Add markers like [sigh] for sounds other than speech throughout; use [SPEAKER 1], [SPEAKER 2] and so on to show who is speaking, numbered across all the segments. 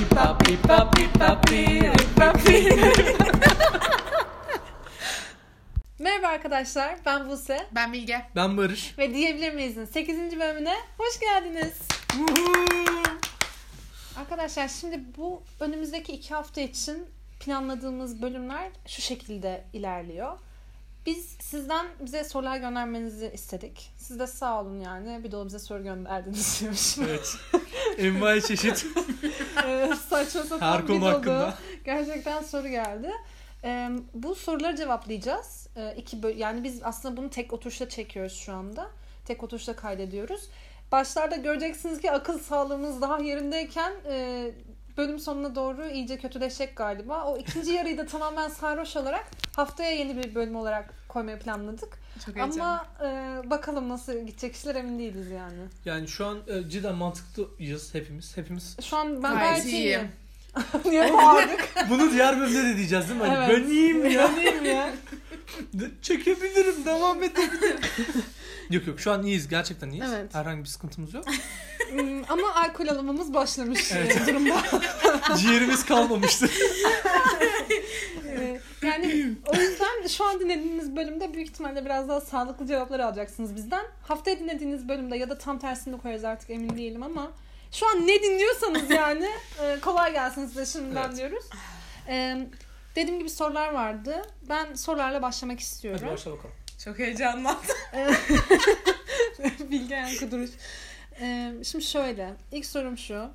[SPEAKER 1] Pipa pipa pi, pipa pi.
[SPEAKER 2] Merhaba arkadaşlar, ben Buse
[SPEAKER 3] Ben Bilge.
[SPEAKER 1] Ben Barış.
[SPEAKER 2] ve Diyebilir Miyiz'in 8. bölümüne hoş geldiniz. Arkadaşlar şimdi bu önümüzdeki iki hafta için planladığımız bölümler şu şekilde ilerliyor. Biz sizden bize sorular göndermenizi istedik. Siz de sağ olun yani bir dolu bize soru gönderdiniz [laughs] diyormuşum.
[SPEAKER 1] evet. [laughs] Envai
[SPEAKER 2] [laughs]
[SPEAKER 1] çeşit
[SPEAKER 2] Ee, saçma sapan
[SPEAKER 1] her
[SPEAKER 2] bir
[SPEAKER 1] konu
[SPEAKER 2] dolu.
[SPEAKER 1] hakkında.
[SPEAKER 2] Gerçekten soru geldi. Ee, bu soruları cevaplayacağız. Ee, iki böl- yani biz aslında bunu tek oturuşta çekiyoruz şu anda. Tek oturuşta kaydediyoruz. Başlarda göreceksiniz ki akıl sağlığımız daha yerindeyken e, bölüm sonuna doğru iyice kötüleşecek galiba. O ikinci yarıyı da tamamen sarhoş olarak haftaya yeni bir bölüm olarak koymayı planladık.
[SPEAKER 3] Çok heyecanlı.
[SPEAKER 2] Ama e, bakalım nasıl gidecek işler emin değiliz yani.
[SPEAKER 1] Yani şu an e, cidden mantıklıyız hepimiz. Hepimiz.
[SPEAKER 2] Şu an ben
[SPEAKER 3] Gayet
[SPEAKER 2] gayet
[SPEAKER 3] iyi.
[SPEAKER 2] iyiyim. Niye
[SPEAKER 3] [laughs]
[SPEAKER 2] bağırdık?
[SPEAKER 1] Bunu diğer bölümde de diyeceğiz değil mi? Hani
[SPEAKER 2] Evet.
[SPEAKER 1] Ben iyiyim ya. [laughs]
[SPEAKER 2] Yanayım ya.
[SPEAKER 1] Çekebilirim, devam edebilirim.
[SPEAKER 2] [laughs]
[SPEAKER 1] yok yok şu an iyiyiz. Gerçekten iyiyiz.
[SPEAKER 2] Evet.
[SPEAKER 1] Herhangi bir sıkıntımız yok. [laughs]
[SPEAKER 2] Hmm, [laughs] ama alkol alımımız başlamış
[SPEAKER 1] Evet.
[SPEAKER 2] e, durumda.
[SPEAKER 1] Ciğerimiz
[SPEAKER 2] [laughs]
[SPEAKER 1] kalmamıştı.
[SPEAKER 2] E, yani o yüzden şu an dinlediğiniz bölümde büyük ihtimalle biraz daha sağlıklı cevaplar alacaksınız bizden. Haftaya dinlediğiniz bölümde ya da tam tersini de koyarız artık emin değilim ama şu an
[SPEAKER 1] [laughs]
[SPEAKER 2] ne dinliyorsanız yani e, kolay gelsin size şimdiden
[SPEAKER 1] Evet.
[SPEAKER 2] diyoruz. E, dediğim gibi sorular vardı. Ben sorularla başlamak istiyorum.
[SPEAKER 1] Hadi başla bakalım.
[SPEAKER 3] Çok heyecanlı.
[SPEAKER 2] [laughs] Bilge yankı duruş. Ee, şimdi şöyle. ilk sorum şu.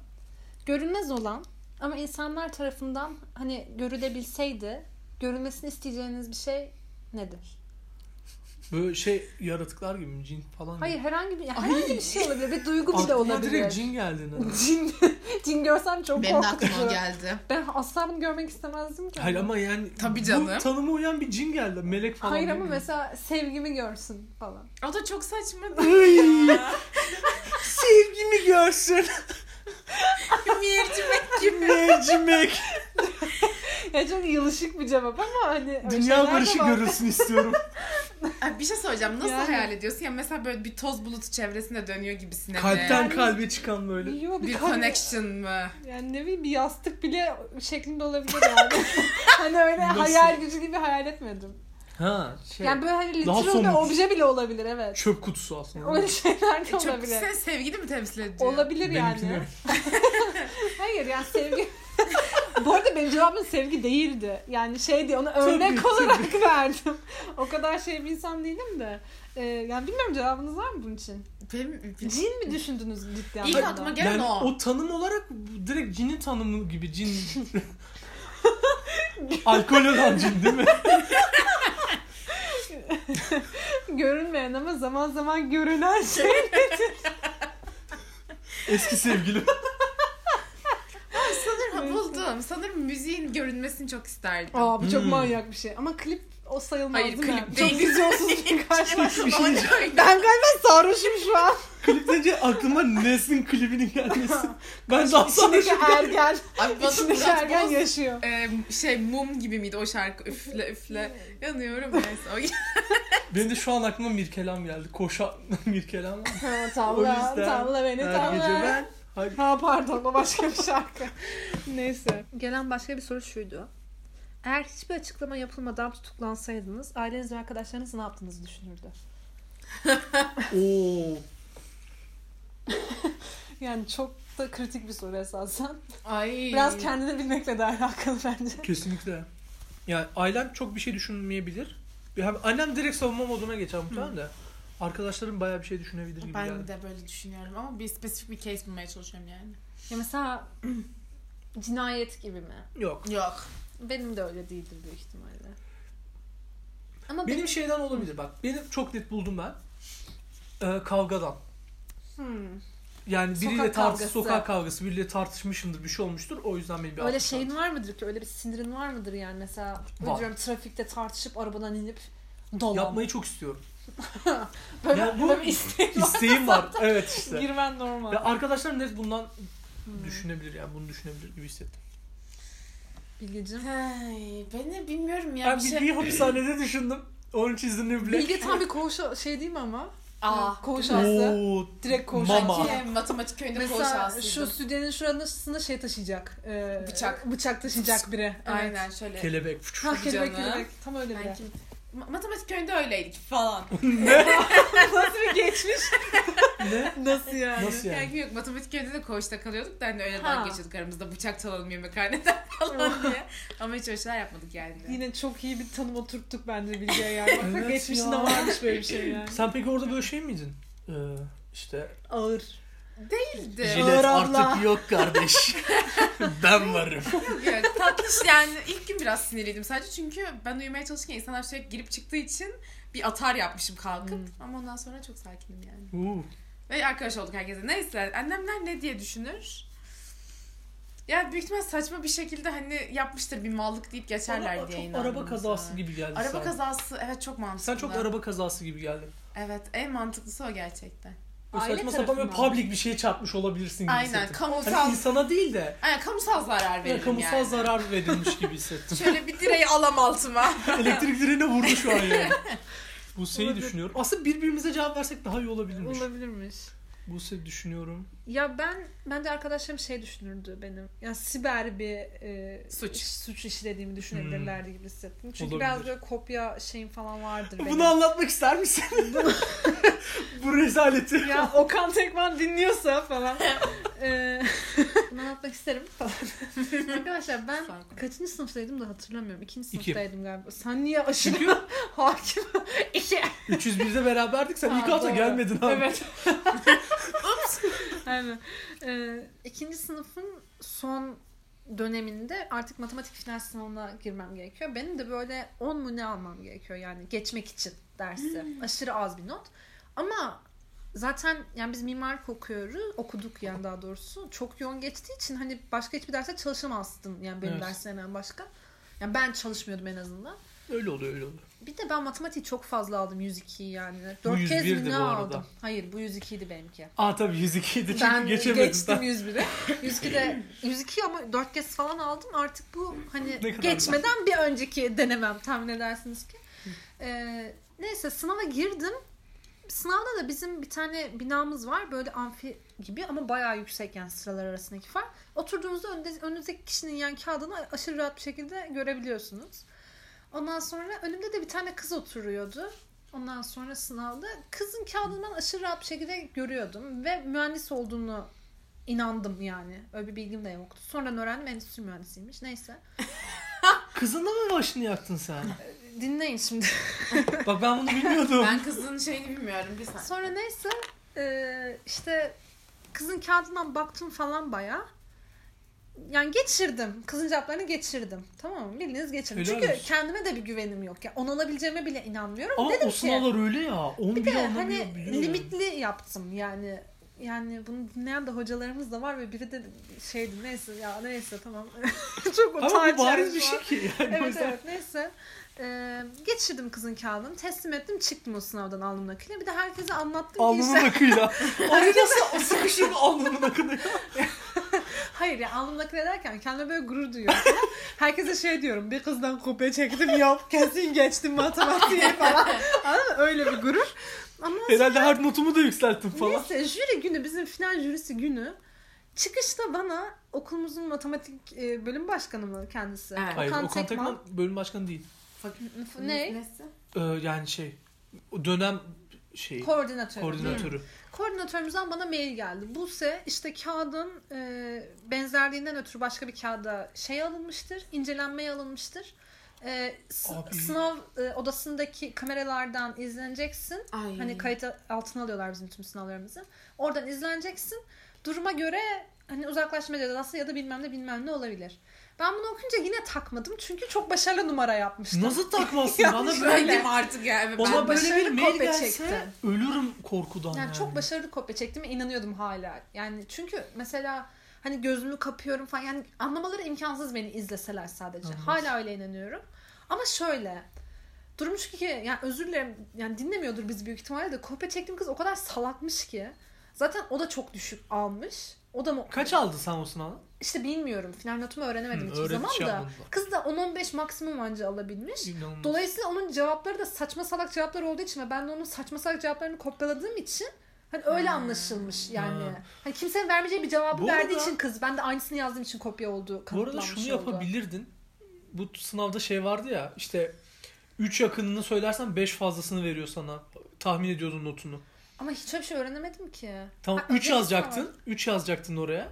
[SPEAKER 2] Görünmez olan ama insanlar tarafından hani görülebilseydi görülmesini isteyeceğiniz bir şey nedir?
[SPEAKER 1] Böyle şey yaratıklar gibi mi? Cin falan gibi.
[SPEAKER 2] Hayır herhangi bir yani herhangi bir şey olabilir. Bir duygu bile
[SPEAKER 1] Aklıma
[SPEAKER 2] olabilir.
[SPEAKER 1] direkt cin geldi.
[SPEAKER 2] [laughs]
[SPEAKER 1] nedense.
[SPEAKER 2] Cin, cin görsem çok
[SPEAKER 3] Benim de aklıma o
[SPEAKER 2] korkutucu.
[SPEAKER 3] geldi.
[SPEAKER 2] Ben asla bunu görmek istemezdim ki.
[SPEAKER 1] Hayır ama yani
[SPEAKER 3] Tabii
[SPEAKER 1] bu
[SPEAKER 3] canım.
[SPEAKER 1] tanıma uyan bir cin geldi. Melek falan.
[SPEAKER 2] Hayır
[SPEAKER 1] değil
[SPEAKER 2] ama
[SPEAKER 1] mi?
[SPEAKER 2] mesela sevgimi görsün falan.
[SPEAKER 3] O da çok saçma
[SPEAKER 1] Ay, [laughs]
[SPEAKER 3] [laughs]
[SPEAKER 1] sevgimi görsün.
[SPEAKER 3] Mercimek gibi.
[SPEAKER 1] Mercimek.
[SPEAKER 2] Ya çok yılışık bir cevap ama hani öyle şeyler de
[SPEAKER 1] Dünya barışı
[SPEAKER 2] var.
[SPEAKER 1] görürsün istiyorum.
[SPEAKER 3] Ay, bir şey soracağım. Nasıl
[SPEAKER 2] Yani.
[SPEAKER 3] hayal ediyorsun? Ya mesela böyle bir toz bulutu çevresinde dönüyor gibisine mi?
[SPEAKER 1] Kalpten kalbe çıkan böyle.
[SPEAKER 2] Yo,
[SPEAKER 3] Bir
[SPEAKER 2] kalp-
[SPEAKER 3] connection mı?
[SPEAKER 2] Yani ne bileyim bir yastık bile şeklinde olabilir
[SPEAKER 1] [laughs]
[SPEAKER 2] yani. hani öyle
[SPEAKER 1] Nasıl?
[SPEAKER 2] hayal gücü gibi hayal etmedim.
[SPEAKER 1] Ha şey.
[SPEAKER 2] Yani böyle hani
[SPEAKER 1] Daha
[SPEAKER 2] literal bir
[SPEAKER 1] somut.
[SPEAKER 2] obje bile olabilir evet.
[SPEAKER 1] Çöp kutusu aslında.
[SPEAKER 2] Öyle şeyler de
[SPEAKER 3] E, Çok
[SPEAKER 2] olabilir.
[SPEAKER 3] sen sevgili mi temsil ediyor?
[SPEAKER 2] Olabilir
[SPEAKER 1] Benimkini-
[SPEAKER 2] yani. Hayır yani sevgi... [laughs] Bu arada benim cevabım sevgi değildi. Yani şey diye onu örnek olarak [laughs] verdim. O kadar şey bir insan değilim de. Ee, yani bilmiyorum cevabınız var mı bunun için?
[SPEAKER 3] Benim, şey
[SPEAKER 2] Cin mi düşündünüz cidden?
[SPEAKER 3] İlk
[SPEAKER 2] bunda?
[SPEAKER 3] aklıma gelen
[SPEAKER 1] Yani
[SPEAKER 3] o.
[SPEAKER 1] o tanım olarak bu direkt cinin tanımı gibi cin. Alkol olan cin değil mi?
[SPEAKER 2] Görünmeyen ama zaman zaman görünen şey.
[SPEAKER 3] [laughs]
[SPEAKER 1] Eski sevgilim.
[SPEAKER 3] Sanırım buldum. Sanırım müziğin görünmesini çok isterdim.
[SPEAKER 2] Aa bu çok
[SPEAKER 1] Hmm.
[SPEAKER 2] manyak bir şey. Ama klip o sayılmaz
[SPEAKER 3] Hayır,
[SPEAKER 2] değil mi?
[SPEAKER 3] klip
[SPEAKER 2] Çok
[SPEAKER 3] değil. [laughs]
[SPEAKER 2] vizyonsuz bir karşılaşma.
[SPEAKER 1] Bir şey
[SPEAKER 3] Ama
[SPEAKER 1] diyeceğim.
[SPEAKER 3] [laughs]
[SPEAKER 2] ben galiba sarhoşum şu an.
[SPEAKER 1] Kliptece aklıma Nes'in klibinin gelmesi. Ben daha sonra
[SPEAKER 2] İçindeki
[SPEAKER 1] şu
[SPEAKER 3] [laughs]
[SPEAKER 2] ergen,
[SPEAKER 3] Abi bana
[SPEAKER 2] içindeki
[SPEAKER 3] Murat
[SPEAKER 2] ergen
[SPEAKER 3] Boz-
[SPEAKER 2] yaşıyor.
[SPEAKER 3] Ee, şey mum gibi miydi o şarkı üfle üfle yanıyorum neyse o
[SPEAKER 1] Benim de şu an aklıma Mirkelam geldi. Koşa [laughs] Mirkelam. var.
[SPEAKER 2] Ha,
[SPEAKER 1] O
[SPEAKER 2] tavla,
[SPEAKER 1] yüzden
[SPEAKER 2] tavla beni
[SPEAKER 1] Her gece
[SPEAKER 2] tavla.
[SPEAKER 1] ben. Hayır.
[SPEAKER 2] Ha pardon o başka bir şarkı. [laughs] Neyse. Gelen başka bir soru şuydu. Eğer hiçbir açıklama yapılmadan tutuklansaydınız aileniz ve arkadaşlarınız ne yaptığınızı düşünürdü?
[SPEAKER 1] Oo.
[SPEAKER 2] Yani çok da kritik bir soru esasen.
[SPEAKER 3] [laughs] Ay.
[SPEAKER 2] Biraz kendini bilmekle de alakalı bence.
[SPEAKER 1] Kesinlikle. Yani ailem çok bir şey düşünmeyebilir. Yani annem direkt savunma moduna geçer muhtemelen de. Arkadaşlarım bayağı bir şey düşünebilir gibi
[SPEAKER 3] Ben
[SPEAKER 1] geldi.
[SPEAKER 3] de böyle düşünüyorum ama bir spesifik bir case bulmaya çalışıyorum yani.
[SPEAKER 2] Ya mesela [clears throat] cinayet gibi mi?
[SPEAKER 1] Yok.
[SPEAKER 3] Yok.
[SPEAKER 2] Benim de öyle değildir büyük ihtimalle. Ama
[SPEAKER 1] Benim şeyden olabilir bak. Benim çok net buldum ben. Ee, kavgadan.
[SPEAKER 2] Hmm.
[SPEAKER 1] Yani biriyle sokak
[SPEAKER 2] Sokak kavgası.
[SPEAKER 1] sokak kavgası, biriyle tartışmışımdır, bir şey olmuştur. O yüzden benim bir
[SPEAKER 2] öyle
[SPEAKER 1] altı
[SPEAKER 2] şeyin var mıdır ki? Öyle bir sinirin var mıdır yani? Mesela
[SPEAKER 1] Var.
[SPEAKER 2] diyorum trafikte tartışıp arabadan inip
[SPEAKER 1] var.
[SPEAKER 2] dolan.
[SPEAKER 1] yapmayı çok
[SPEAKER 2] [laughs]
[SPEAKER 1] istiyorum.
[SPEAKER 2] böyle,
[SPEAKER 1] Ya bu-
[SPEAKER 2] böyle bir isteğin
[SPEAKER 1] İsteğim var.
[SPEAKER 2] [laughs]
[SPEAKER 1] Evet işte.
[SPEAKER 2] Girmen normal.
[SPEAKER 1] Ve arkadaşlarım net bundan
[SPEAKER 2] Hmm.
[SPEAKER 1] düşünebilir yani bunu düşünebilir gibi hissettim.
[SPEAKER 2] Bilgeciğim.
[SPEAKER 3] Ay, ben de bilmiyorum ya.
[SPEAKER 1] Ben
[SPEAKER 3] bir
[SPEAKER 1] bir
[SPEAKER 3] şey...
[SPEAKER 1] hapishanede düşündüm. Onun için izledim bile.
[SPEAKER 2] Bilge tam bir koğuş şey değil mi ama?
[SPEAKER 3] Aa,
[SPEAKER 2] Koğuşası.
[SPEAKER 1] Oo,
[SPEAKER 2] Direkt koğuş.
[SPEAKER 1] Mama.
[SPEAKER 3] Belki matematik köyünde
[SPEAKER 2] Mesela
[SPEAKER 3] koğuşasıydı.
[SPEAKER 2] şu stüdyenin şurasında şey taşıyacak. e,
[SPEAKER 3] Bıçak.
[SPEAKER 2] Bıçak taşıyacak biri. Evet.
[SPEAKER 3] Aynen şöyle.
[SPEAKER 1] kelebek.
[SPEAKER 2] Ha kelebek
[SPEAKER 3] Canım.
[SPEAKER 2] kelebek. Tam öyle biri.
[SPEAKER 3] Belki Ma- matematik köyünde öyleydik falan.
[SPEAKER 2] Nasıl bir geçmiş?
[SPEAKER 1] ne?
[SPEAKER 2] Nasıl yani?
[SPEAKER 1] Nasıl yani?
[SPEAKER 3] [laughs] Yani yok matematik köyünde de koğuşta kalıyorduk da hani öyle
[SPEAKER 2] Ha.
[SPEAKER 3] dalga geçiyorduk aramızda bıçak çalalım yemekhaneden [laughs] falan diye. Ama hiç öyle şeyler yapmadık yani.
[SPEAKER 2] Yine çok iyi bir tanım oturttuk bence Bilge'ye yani. Bak,
[SPEAKER 1] Evet
[SPEAKER 2] geçmişinde
[SPEAKER 1] ya.
[SPEAKER 2] varmış böyle bir şey yani.
[SPEAKER 1] Sen peki orada böyle şey miydin? Ee, işte
[SPEAKER 2] Ağır.
[SPEAKER 3] Değildi.
[SPEAKER 1] jilet
[SPEAKER 2] abla.
[SPEAKER 1] artık yok
[SPEAKER 3] [laughs]
[SPEAKER 1] kardeş. ben varım.
[SPEAKER 3] Yani tatlış yani ilk gün biraz sinirliydim sadece çünkü ben uyumaya çalışırken insanlar sürekli girip çıktığı için bir atar yapmışım kalkıp
[SPEAKER 1] Hmm.
[SPEAKER 3] ama ondan sonra çok sakinim yani.
[SPEAKER 1] Uu,
[SPEAKER 3] Ve arkadaş olduk herkese. Neyse annemler ne diye düşünür? Ya büyük ihtimal saçma bir şekilde hani yapmıştır bir mallık deyip geçerler
[SPEAKER 1] bana
[SPEAKER 3] diye
[SPEAKER 1] çok
[SPEAKER 3] inandım
[SPEAKER 1] araba
[SPEAKER 3] mesela.
[SPEAKER 1] kazası gibi geldi
[SPEAKER 3] Araba
[SPEAKER 1] sen.
[SPEAKER 3] kazası evet çok mantıklı.
[SPEAKER 1] Sen çok araba kazası gibi geldin.
[SPEAKER 3] Evet en mantıklısı o gerçekten.
[SPEAKER 1] Böyle
[SPEAKER 2] Aile
[SPEAKER 1] saçma sapan böyle
[SPEAKER 2] tarafından.
[SPEAKER 1] public bir şeye çarpmış olabilirsin gibi
[SPEAKER 3] Aynen
[SPEAKER 1] hissettim.
[SPEAKER 3] kamusal,
[SPEAKER 1] Hani insana değil de
[SPEAKER 3] aynen, kamusal zarar veririm
[SPEAKER 1] kamusal
[SPEAKER 3] yani.
[SPEAKER 1] zarar verilmiş gibi
[SPEAKER 3] [laughs]
[SPEAKER 1] hissettim.
[SPEAKER 3] Şöyle bir direği alam
[SPEAKER 1] [laughs]
[SPEAKER 3] altıma.
[SPEAKER 1] Elektrik direğine vurdu şu an yani. Buse'yi
[SPEAKER 2] Olabilir.
[SPEAKER 1] düşünüyorum. Aslında birbirimize cevap versek daha iyi olabilirmiş.
[SPEAKER 2] Olabilirmiş.
[SPEAKER 1] Buse düşünüyorum.
[SPEAKER 2] Ya ben bence arkadaşlarım şey düşünürdü benim. Ya siber bir e,
[SPEAKER 3] Suç.
[SPEAKER 2] suç işlediğimi düşünebilirlerdi gibi hissettim. Çünkü
[SPEAKER 1] Hmm. Olabilir.
[SPEAKER 2] biraz böyle kopya şeyim falan vardır benim.
[SPEAKER 1] Bunu anlatmak ister
[SPEAKER 3] [laughs]
[SPEAKER 1] misin? Bu rezaleti.
[SPEAKER 2] ya Okan Tekman
[SPEAKER 1] [laughs]
[SPEAKER 2] dinliyorsa falan. Eee, [laughs] Bunu anlatmak isterim falan. Arkadaşlar ben
[SPEAKER 3] Falan.
[SPEAKER 2] kaçıncı sınıftaydım da hatırlamıyorum. İkinci
[SPEAKER 1] İki.
[SPEAKER 2] sınıftaydım galiba. Sen niye aşırı [laughs] hakim? İki.
[SPEAKER 1] 301'de beraberdik sen
[SPEAKER 2] Ha,
[SPEAKER 1] ilk hafta
[SPEAKER 2] doğru.
[SPEAKER 1] gelmedin abi.
[SPEAKER 2] Evet.
[SPEAKER 1] [laughs]
[SPEAKER 2] Aynen. Ee, ikinci sınıfın son döneminde artık matematik final sınavına girmem gerekiyor. Benim de böyle 10 mu ne almam gerekiyor yani geçmek için dersi. Aşırı az bir not. Ama zaten yani biz mimarlık okuyoruz. Okuduk yani daha doğrusu. Çok yoğun geçtiği için hani başka hiçbir derse çalışamazdım. Yani benim
[SPEAKER 1] Evet.
[SPEAKER 2] derslerimden başka. Yani ben çalışmıyordum en azından.
[SPEAKER 1] Öyle oluyor öyle oluyor.
[SPEAKER 2] Bir de ben matematiği çok fazla aldım 102'yi yani.
[SPEAKER 1] Bu
[SPEAKER 2] 4 kez
[SPEAKER 1] 101'di
[SPEAKER 2] mi ne
[SPEAKER 1] bu arada.
[SPEAKER 2] aldım? Hayır bu 102'ydi benimki.
[SPEAKER 1] Aa tabii 102'ydi çünkü
[SPEAKER 2] Ben
[SPEAKER 1] geçemedim.
[SPEAKER 2] geçtim 101'i. 102'de 102 ama 4 kez falan aldım. Artık bu hani
[SPEAKER 1] Ne kadar
[SPEAKER 2] geçmeden bir önceki denemem tahmin edersiniz ki. Ee, neyse sınava girdim. Sınavda da bizim bir tane binamız var böyle amfi gibi ama bayağı yüksek yani sıralar arasındaki fark. Oturduğunuzda önde, önünüzdeki kişinin yani kağıdını aşırı rahat bir şekilde görebiliyorsunuz. Ondan sonra önümde de bir tane kız oturuyordu. Ondan sonra sınavda kızın kağıdını ben aşırı rahat bir şekilde görüyordum ve mühendis olduğunu inandım yani. Öyle bir bilgim de yoktu. Sonradan öğrendim endüstri mühendisiymiş. Neyse.
[SPEAKER 1] Kızınla mı başını yaktın sen?
[SPEAKER 2] Dinleyin şimdi.
[SPEAKER 1] Bak ben bunu bilmiyordum.
[SPEAKER 3] ben kızın şeyini bilmiyorum bir saniye.
[SPEAKER 2] Sonra neyse e, işte kızın kağıdından baktım falan baya. Yani geçirdim. Kızın cevaplarını geçirdim. Tamam mı? Bildiğiniz geçirdim.
[SPEAKER 1] Helal
[SPEAKER 2] Çünkü
[SPEAKER 1] olsun.
[SPEAKER 2] kendime de bir güvenim yok. Yani onu alabileceğime bile inanmıyorum.
[SPEAKER 1] Ama
[SPEAKER 2] Dedim
[SPEAKER 1] o
[SPEAKER 2] ki-
[SPEAKER 1] sınavlar öyle ya. 11
[SPEAKER 2] Bir de
[SPEAKER 1] anlamıyor.
[SPEAKER 2] hani
[SPEAKER 1] biliyor yani.
[SPEAKER 2] limitli yaptım yani. Yani bunu dinleyen de hocalarımız da var ve biri de şeydi neyse ya neyse tamam. [laughs] Çok
[SPEAKER 1] Ama
[SPEAKER 2] utanç
[SPEAKER 1] bu bariz
[SPEAKER 2] yani
[SPEAKER 1] bir
[SPEAKER 2] şu an.
[SPEAKER 1] şey ki. Yani o
[SPEAKER 2] Evet
[SPEAKER 1] yüzden-
[SPEAKER 2] evet neyse. Ee, geçirdim kızın kağıdını teslim ettim çıktım o sınavdan alnımın akıyla. Bir de herkese anlattım ki
[SPEAKER 1] Alnımın
[SPEAKER 2] işte. [laughs]
[SPEAKER 1] akıyla. Ay nasıl sıkışır alnımın akıyla.
[SPEAKER 2] Hayır ya alnımın akıyla derken kendime böyle gurur duyuyorum. falan. herkese şey diyorum bir kızdan kopya çektim yok kesin geçtim [laughs] matematiğe falan. Anladın mı? Öyle bir gurur. Ama
[SPEAKER 1] Herhalde her notumu da yükselttim falan.
[SPEAKER 2] Neyse jüri günü bizim final jürisi günü çıkışta bana okulumuzun matematik e, bölüm başkanı mı kendisi?
[SPEAKER 3] Evet.
[SPEAKER 1] Hayır Okan Tekman bölüm başkanı değil.
[SPEAKER 2] F- ne?
[SPEAKER 3] Nesi?
[SPEAKER 1] Ee, yani şey o dönem şey
[SPEAKER 2] Koordinatör.
[SPEAKER 1] koordinatörü.
[SPEAKER 2] Koordinatörümüzden bana mail geldi. Buse işte kağıdın e, benzerliğinden ötürü başka bir kağıda şey alınmıştır, incelenmeye alınmıştır. E, s-
[SPEAKER 1] Abi.
[SPEAKER 2] sınav e, odasındaki kameralardan izleneceksin.
[SPEAKER 3] Ay. [laughs]
[SPEAKER 2] Hani kayıt altına alıyorlar bizim tüm sınavlarımızı. Oradan izleneceksin. Duruma göre hani uzaklaşma cezası ya da bilmem ne bilmem ne olabilir. Ben bunu okuyunca yine takmadım çünkü çok başarılı numara yapmıştım.
[SPEAKER 1] Nasıl takmazsın? Bana
[SPEAKER 2] Yanlış
[SPEAKER 1] böyle,
[SPEAKER 2] öyle.
[SPEAKER 3] Öldüm artık ya. Evet,
[SPEAKER 1] bana
[SPEAKER 3] ben
[SPEAKER 2] baş-
[SPEAKER 1] böyle bir
[SPEAKER 2] başarılı
[SPEAKER 1] mail
[SPEAKER 2] kopya
[SPEAKER 1] gelse
[SPEAKER 2] çekti.
[SPEAKER 1] ölürüm korkudan yani.
[SPEAKER 2] Yani çok başarılı kopya çektiğime inanıyordum hala. Yani çünkü mesela hani gözümü kapıyorum falan yani anlamaları imkansız beni izleseler sadece.
[SPEAKER 1] Anladım.
[SPEAKER 2] Hala öyle inanıyorum. Ama şöyle durum şu ki yani özür dilerim yani dinlemiyordur biz büyük ihtimalle de kopya çektiğim kız o kadar salakmış ki. Zaten o da çok düşük almış. O da mı?
[SPEAKER 1] Kaç aldı Samsun alan?
[SPEAKER 2] İşte bilmiyorum. Final notumu öğrenemedim
[SPEAKER 1] Hı,
[SPEAKER 2] hiçbir
[SPEAKER 1] öğret-
[SPEAKER 2] zaman
[SPEAKER 1] şey
[SPEAKER 2] da.
[SPEAKER 1] yapmadılar.
[SPEAKER 2] Kız da 10-15 maksimum anca alabilmiş.
[SPEAKER 1] İnanılmaz.
[SPEAKER 2] Dolayısıyla onun cevapları da saçma salak cevaplar olduğu için ve ben de onun saçma salak cevaplarını kopyaladığım için hani öyle anlaşılmış yani.
[SPEAKER 1] Ha.
[SPEAKER 2] Hani kimsenin vermeyeceği bir cevabı
[SPEAKER 1] Bu
[SPEAKER 2] verdiği
[SPEAKER 1] arada-
[SPEAKER 2] için kız ben de aynısını yazdığım için kopya oldu.
[SPEAKER 1] Bu arada
[SPEAKER 2] kanıtlanmış
[SPEAKER 1] şunu
[SPEAKER 2] oldu.
[SPEAKER 1] yapabilirdin. Bu sınavda şey vardı ya işte 3 yakınını söylersen 5 fazlasını veriyor sana. Tahmin ediyordun notunu.
[SPEAKER 2] Ama hiç öyle bir şey öğrenemedim ki.
[SPEAKER 1] Tamam
[SPEAKER 2] Ha,
[SPEAKER 1] 3
[SPEAKER 2] öyle bir şey var.
[SPEAKER 1] yazacaktın. 3 yazacaktın oraya.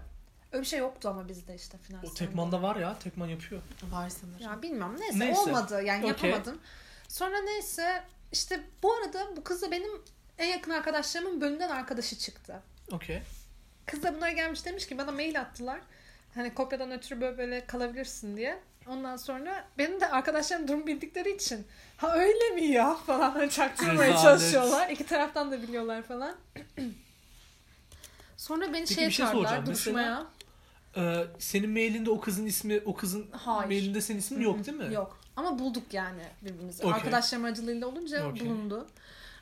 [SPEAKER 2] Öyle bir şey yoktu ama bizde işte final
[SPEAKER 1] O
[SPEAKER 2] sınavında.
[SPEAKER 1] tekmanda var ya. Tekman yapıyor.
[SPEAKER 3] Var sanırım.
[SPEAKER 2] Ya bilmem neyse,
[SPEAKER 1] Neyse.
[SPEAKER 2] olmadı yani
[SPEAKER 1] Okey.
[SPEAKER 2] yapamadım. Sonra neyse işte bu arada bu kızla benim en yakın arkadaşlarımın bölümden arkadaşı çıktı.
[SPEAKER 1] Okey.
[SPEAKER 2] Kız da bunlar gelmiş demiş ki bana mail attılar. Hani kopyadan ötürü böyle, böyle kalabilirsin diye. Ondan sonra benim de arkadaşlarım durum bildikleri için ha öyle mi ya falan [laughs] hani çaktırmaya
[SPEAKER 1] Rezalet.
[SPEAKER 2] çalışıyorlar. İki taraftan da biliyorlar falan. [clears throat] sonra beni
[SPEAKER 1] Peki
[SPEAKER 2] şeye
[SPEAKER 1] bir şey
[SPEAKER 2] çağırdılar
[SPEAKER 1] soracağım.
[SPEAKER 2] duruşmaya.
[SPEAKER 1] Ee, senin mailinde o kızın ismi, o kızın
[SPEAKER 2] Hayır.
[SPEAKER 1] mailinde senin ismin yok değil mi?
[SPEAKER 2] Yok. Ama bulduk yani birbirimizi.
[SPEAKER 1] Okey.
[SPEAKER 2] Arkadaşlarım aracılığıyla olunca
[SPEAKER 1] Okey.
[SPEAKER 2] bulundu.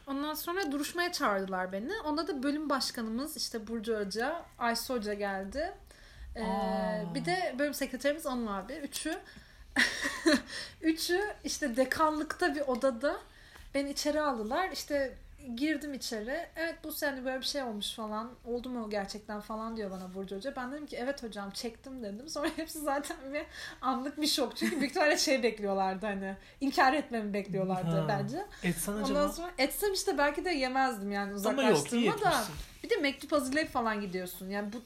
[SPEAKER 2] Ondan sonra duruşmaya çağırdılar beni. Onda da bölüm başkanımız işte Burcu Hoca, Aysu Hoca geldi. Ee,
[SPEAKER 1] Aa.
[SPEAKER 2] bir de bölüm sekreterimiz Anıl abi. Üçü [laughs] üçü işte dekanlıkta bir odada beni içeri aldılar. İşte girdim içeri. Evet bu sene böyle bir şey olmuş falan. Oldu mu gerçekten falan diyor bana Burcu Hoca. Ben dedim ki evet hocam çektim dedim. Sonra [laughs] hepsi zaten bir anlık bir şok. Çünkü büyük ihtimalle şey bekliyorlardı hani. İnkar etmemi bekliyorlardı
[SPEAKER 1] Ha.
[SPEAKER 2] bence.
[SPEAKER 1] Etsen acaba.
[SPEAKER 2] Ondan sonra etsem işte belki de yemezdim yani
[SPEAKER 1] Ama yok iyi
[SPEAKER 2] uzaklaştırma da.
[SPEAKER 1] etmişsin.
[SPEAKER 2] Bir de mektup hazırlayıp falan gidiyorsun. Yani bu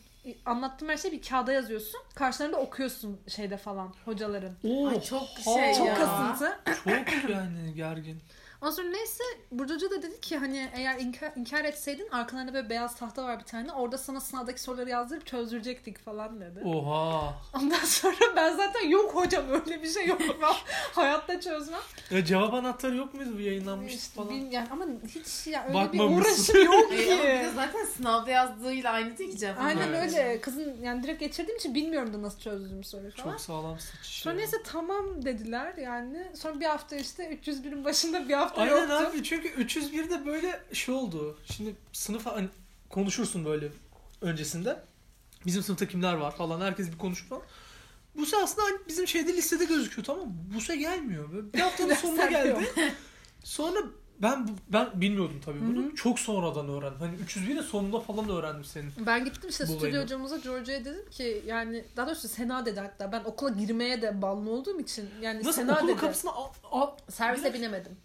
[SPEAKER 2] anlattığım her şeyi bir kağıda yazıyorsun. Karşılarında okuyorsun şeyde falan hocaların.
[SPEAKER 1] Oo,
[SPEAKER 3] Ay çok
[SPEAKER 1] ha,
[SPEAKER 3] şey
[SPEAKER 2] Çok
[SPEAKER 3] ya.
[SPEAKER 2] kasıntı.
[SPEAKER 1] Çok yani gergin.
[SPEAKER 2] Ondan sonra neyse Burcu Hoca da dedi ki hani eğer inkar, inkar etseydin arkalarında böyle beyaz tahta var bir tane. Orada sana sınavdaki soruları yazdırıp çözdürecektik falan
[SPEAKER 1] Oh.
[SPEAKER 2] dedi.
[SPEAKER 1] Oha.
[SPEAKER 2] Ondan sonra ben zaten yok hocam öyle bir şey yok. Ben hayatta çözmem.
[SPEAKER 1] Ya cevap anahtarı yok muydu bu yayınlanmış
[SPEAKER 2] İşte
[SPEAKER 1] falan?
[SPEAKER 2] bil- yani ama hiç ya öyle bir
[SPEAKER 1] Bakmamışsın.
[SPEAKER 2] uğraşım
[SPEAKER 1] [laughs]
[SPEAKER 2] yok
[SPEAKER 3] Ee, ama bir de
[SPEAKER 2] ki.
[SPEAKER 3] zaten sınavda yazdığıyla aynı değil ki cevap.
[SPEAKER 2] Aynen
[SPEAKER 1] Evet.
[SPEAKER 2] öyle. Kızın yani direkt geçirdiğim için bilmiyorum da nasıl çözdüğümü soruyu falan.
[SPEAKER 1] Çok sağlam sıçış.
[SPEAKER 2] Sonra
[SPEAKER 1] ya.
[SPEAKER 2] neyse tamam dediler yani. Sonra bir hafta işte 301'in başında bir hafta
[SPEAKER 1] Aynen
[SPEAKER 2] yoktum.
[SPEAKER 1] abi çünkü 301'de böyle şey oldu. Şimdi sınıfa hani konuşursun böyle öncesinde. Bizim sınıfta kimler var falan herkes bir konuşur falan. Buse aslında hani bizim şeyde listede gözüküyor tamam mı? Buse gelmiyor. Böyle bir haftanın sonuna
[SPEAKER 2] Dersler yok.
[SPEAKER 1] geldi. Sonra ben bu- ben bilmiyordum tabii bunu. Çok sonradan öğrendim. Hani 301'in sonunda falan öğrendim senin.
[SPEAKER 2] Ben gittim işte
[SPEAKER 1] Bu
[SPEAKER 2] stüdyo
[SPEAKER 1] benim.
[SPEAKER 2] hocamıza George'ya dedim ki yani daha doğrusu Sena dedi hatta ben okula girmeye de bağlı olduğum için yani
[SPEAKER 1] Nasıl
[SPEAKER 2] Sena
[SPEAKER 1] okulun
[SPEAKER 2] dedi.
[SPEAKER 1] kapısına a, a-
[SPEAKER 2] Servise binemedim.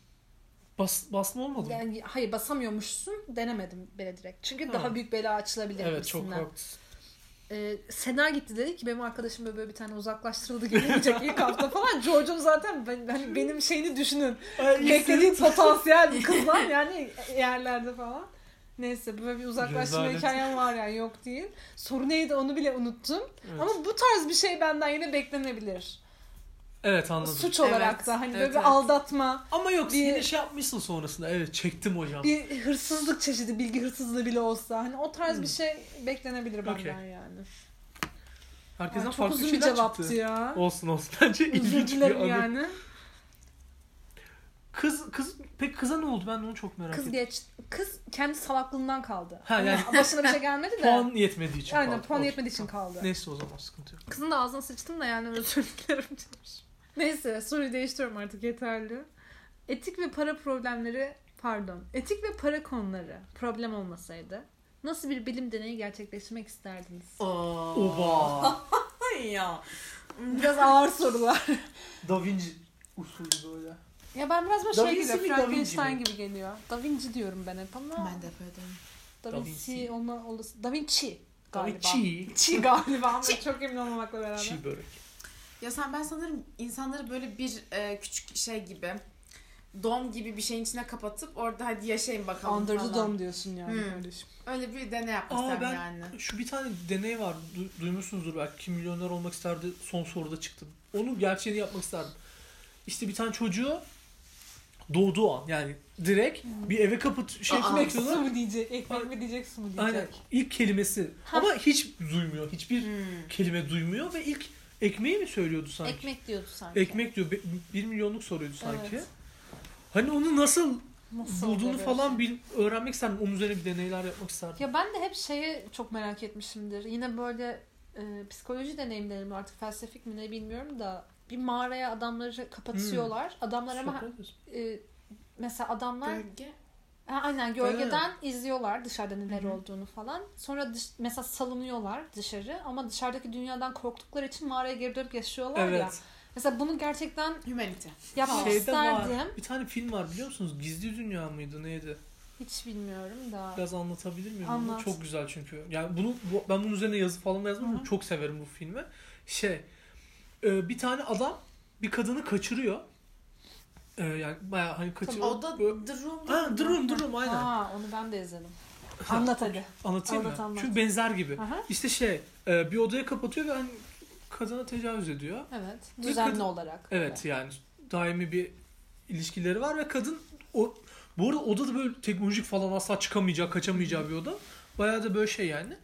[SPEAKER 1] bas, basma olmadı mı?
[SPEAKER 2] Yani hayır basamıyormuşsun denemedim bile direkt. Çünkü
[SPEAKER 1] Ha.
[SPEAKER 2] daha büyük bela açılabilir
[SPEAKER 1] evet çok
[SPEAKER 2] gibisinden.
[SPEAKER 1] korktum.
[SPEAKER 2] Ee, Sena gitti dedi ki benim arkadaşım böyle, böyle bir tane uzaklaştırıldı gelecek ilk hafta falan. George'um zaten ben, hani benim şeyini düşünün. Beklediği potansiyel
[SPEAKER 3] [laughs]
[SPEAKER 2] bir kızdan yani yerlerde falan. Neyse böyle bir uzaklaşma
[SPEAKER 1] Rezalet.
[SPEAKER 2] hikayem var yani yok değil. Soru neydi onu bile unuttum.
[SPEAKER 1] Evet.
[SPEAKER 2] Ama bu tarz bir şey benden yine beklenebilir.
[SPEAKER 1] evet anladım.
[SPEAKER 2] Suç olarak
[SPEAKER 3] Evet,
[SPEAKER 2] da hani böyle
[SPEAKER 3] evet,
[SPEAKER 2] bir
[SPEAKER 3] evet.
[SPEAKER 2] aldatma,
[SPEAKER 1] Ama yok
[SPEAKER 2] Bir-
[SPEAKER 1] yine şey yapmışsın sonrasında. Evet çektim hocam.
[SPEAKER 2] bir hırsızlık çeşidi, bilgi hırsızlığı bile olsa hani o tarz bir şey beklenebilir benden
[SPEAKER 1] Hmm. Okey.
[SPEAKER 2] yani. Ay,
[SPEAKER 1] Herkesten
[SPEAKER 2] çok
[SPEAKER 1] farklı
[SPEAKER 2] uzun bir
[SPEAKER 1] şeyler
[SPEAKER 2] cevaptı
[SPEAKER 1] çıktı.
[SPEAKER 2] ya.
[SPEAKER 1] Olsun olsun. [laughs] Bence
[SPEAKER 2] Özür
[SPEAKER 1] ilginç bir
[SPEAKER 2] dilerim
[SPEAKER 1] anı.
[SPEAKER 2] yani.
[SPEAKER 1] Kız, kız, pek kıza ne oldu ben de onu çok merak
[SPEAKER 2] Kız
[SPEAKER 1] ettim.
[SPEAKER 2] geç, kız kendi salaklığından kaldı.
[SPEAKER 1] Ha, yani-
[SPEAKER 2] Ama Başına bir şey gelmedi
[SPEAKER 1] [laughs]
[SPEAKER 2] de.
[SPEAKER 1] Puan yetmediği için
[SPEAKER 2] Aynen
[SPEAKER 1] kaldı.
[SPEAKER 2] puan
[SPEAKER 1] Okey.
[SPEAKER 2] yetmediği için kaldı.
[SPEAKER 1] Neyse o zaman sıkıntı yok.
[SPEAKER 2] Kızın da ağzına sıçtım da yani özür dilerim demiş. Neyse soruyu değiştiriyorum artık yeterli. Etik ve para problemleri pardon etik ve para konuları problem olmasaydı nasıl bir bilim deneyi gerçekleştirmek isterdiniz?
[SPEAKER 3] Oba.
[SPEAKER 1] Oba.
[SPEAKER 3] ya.
[SPEAKER 2] Biraz ağır sorular.
[SPEAKER 1] da Vinci usulü böyle.
[SPEAKER 2] ya ben biraz böyle
[SPEAKER 1] Da
[SPEAKER 2] şey
[SPEAKER 1] Vinci
[SPEAKER 2] gibi
[SPEAKER 1] mi, Da
[SPEAKER 2] Frankenstein
[SPEAKER 1] Vinci mi?
[SPEAKER 2] gibi geliyor. Da Vinci diyorum ben hep ama
[SPEAKER 3] Ben de böyle dedim.
[SPEAKER 2] Da
[SPEAKER 1] Da
[SPEAKER 2] Vinci
[SPEAKER 1] Vinci.
[SPEAKER 2] olma olası. Da Vinci galiba.
[SPEAKER 1] Çiğ.
[SPEAKER 2] Çi galiba ama çok emin olmamakla beraber.
[SPEAKER 1] Çiğ börek.
[SPEAKER 3] Ya sen ben sanırım insanları böyle bir e, küçük şey gibi dom gibi bir şeyin içine kapatıp orada hadi yaşayın bakalım
[SPEAKER 2] Under the
[SPEAKER 3] falan.
[SPEAKER 2] dome diyorsun yani şey.
[SPEAKER 3] Hmm.
[SPEAKER 2] kardeşim.
[SPEAKER 3] Öyle bir deney yapmak
[SPEAKER 1] Aa,
[SPEAKER 3] isterdim
[SPEAKER 1] ben-
[SPEAKER 3] yani.
[SPEAKER 1] Şu bir tane deney var. du- duymuşsunuzdur belki. Kim milyoner olmak isterdi son soruda çıktı. Onu gerçeğini yapmak isterdim. İşte bir tane çocuğu doğduğu an yani direkt bir eve kapı şey
[SPEAKER 3] Aa,
[SPEAKER 1] bekliyorlar.
[SPEAKER 2] Su mu diyecek, ekmek mi diyecek, su mu diyecek.
[SPEAKER 1] Aynen. İlk kelimesi.
[SPEAKER 2] Ha.
[SPEAKER 1] Ama hiç duymuyor. Hiçbir
[SPEAKER 3] Hmm.
[SPEAKER 1] kelime duymuyor ve ilk ekmeği mi söylüyordu sanki?
[SPEAKER 2] Ekmek diyordu sanki.
[SPEAKER 1] Ekmek diyor. 1 milyonluk soruyordu sanki.
[SPEAKER 2] Evet.
[SPEAKER 1] Hani onu nasıl
[SPEAKER 2] Nasıl
[SPEAKER 1] bulduğunu
[SPEAKER 2] oluyor?
[SPEAKER 1] falan bil, öğrenmek isterdim. Onun üzerine bir deneyler yapmak isterdim.
[SPEAKER 2] Ya ben de hep şeye çok merak etmişimdir. Yine böyle e, psikoloji deneyimlerim artık felsefik mi ne bilmiyorum da bir mağaraya adamları kapatıyorlar.
[SPEAKER 1] Hmm.
[SPEAKER 2] Adamlar ama
[SPEAKER 1] Sokrates.
[SPEAKER 2] e, mesela adamlar
[SPEAKER 3] Gölge.
[SPEAKER 2] Ha, aynen gölgeden
[SPEAKER 1] Evet.
[SPEAKER 2] izliyorlar dışarıda neler
[SPEAKER 3] Hı hı.
[SPEAKER 2] olduğunu falan. Sonra dış- mesela salınıyorlar dışarı ama dışarıdaki dünyadan korktukları için mağaraya geri dönüp yaşıyorlar ya.
[SPEAKER 1] Evet.
[SPEAKER 2] Mesela bunu gerçekten
[SPEAKER 3] Humanity.
[SPEAKER 2] yapmak
[SPEAKER 1] Şeyde
[SPEAKER 2] isterdim.
[SPEAKER 1] var. Bir tane film var biliyor musunuz? Gizli Dünya mıydı neydi?
[SPEAKER 2] Hiç bilmiyorum da.
[SPEAKER 1] Biraz anlatabilir miyim? bunu?
[SPEAKER 2] Anlat.
[SPEAKER 1] Çok güzel çünkü. Yani bunu bu- ben bunun üzerine yazı falan da yazmam ama
[SPEAKER 2] Hı.
[SPEAKER 1] çok severim bu filmi. Şey, e, bir tane adam bir kadını kaçırıyor. E, yani bayağı hani kaçırıyor.
[SPEAKER 3] O da
[SPEAKER 1] Böyle-
[SPEAKER 3] The Room.
[SPEAKER 1] Ha, durum durum aynen.
[SPEAKER 2] Aa, onu ben de izledim. Anlat hadi.
[SPEAKER 1] Anlatayım
[SPEAKER 2] Anlat,
[SPEAKER 1] mı?
[SPEAKER 2] anlat.
[SPEAKER 1] Çünkü benzer gibi.
[SPEAKER 2] Aha.
[SPEAKER 1] İşte şey, e, bir odaya kapatıyor ve hani kadına tecavüz ediyor.
[SPEAKER 2] Evet.
[SPEAKER 1] Bir
[SPEAKER 2] Düzenli
[SPEAKER 1] kadın-
[SPEAKER 2] olarak.
[SPEAKER 1] Evet yani daimi bir ilişkileri var ve kadın o bu arada oda da böyle teknolojik falan asla çıkamayacağı, kaçamayacağı bir oda. Bayağı da böyle şey yani.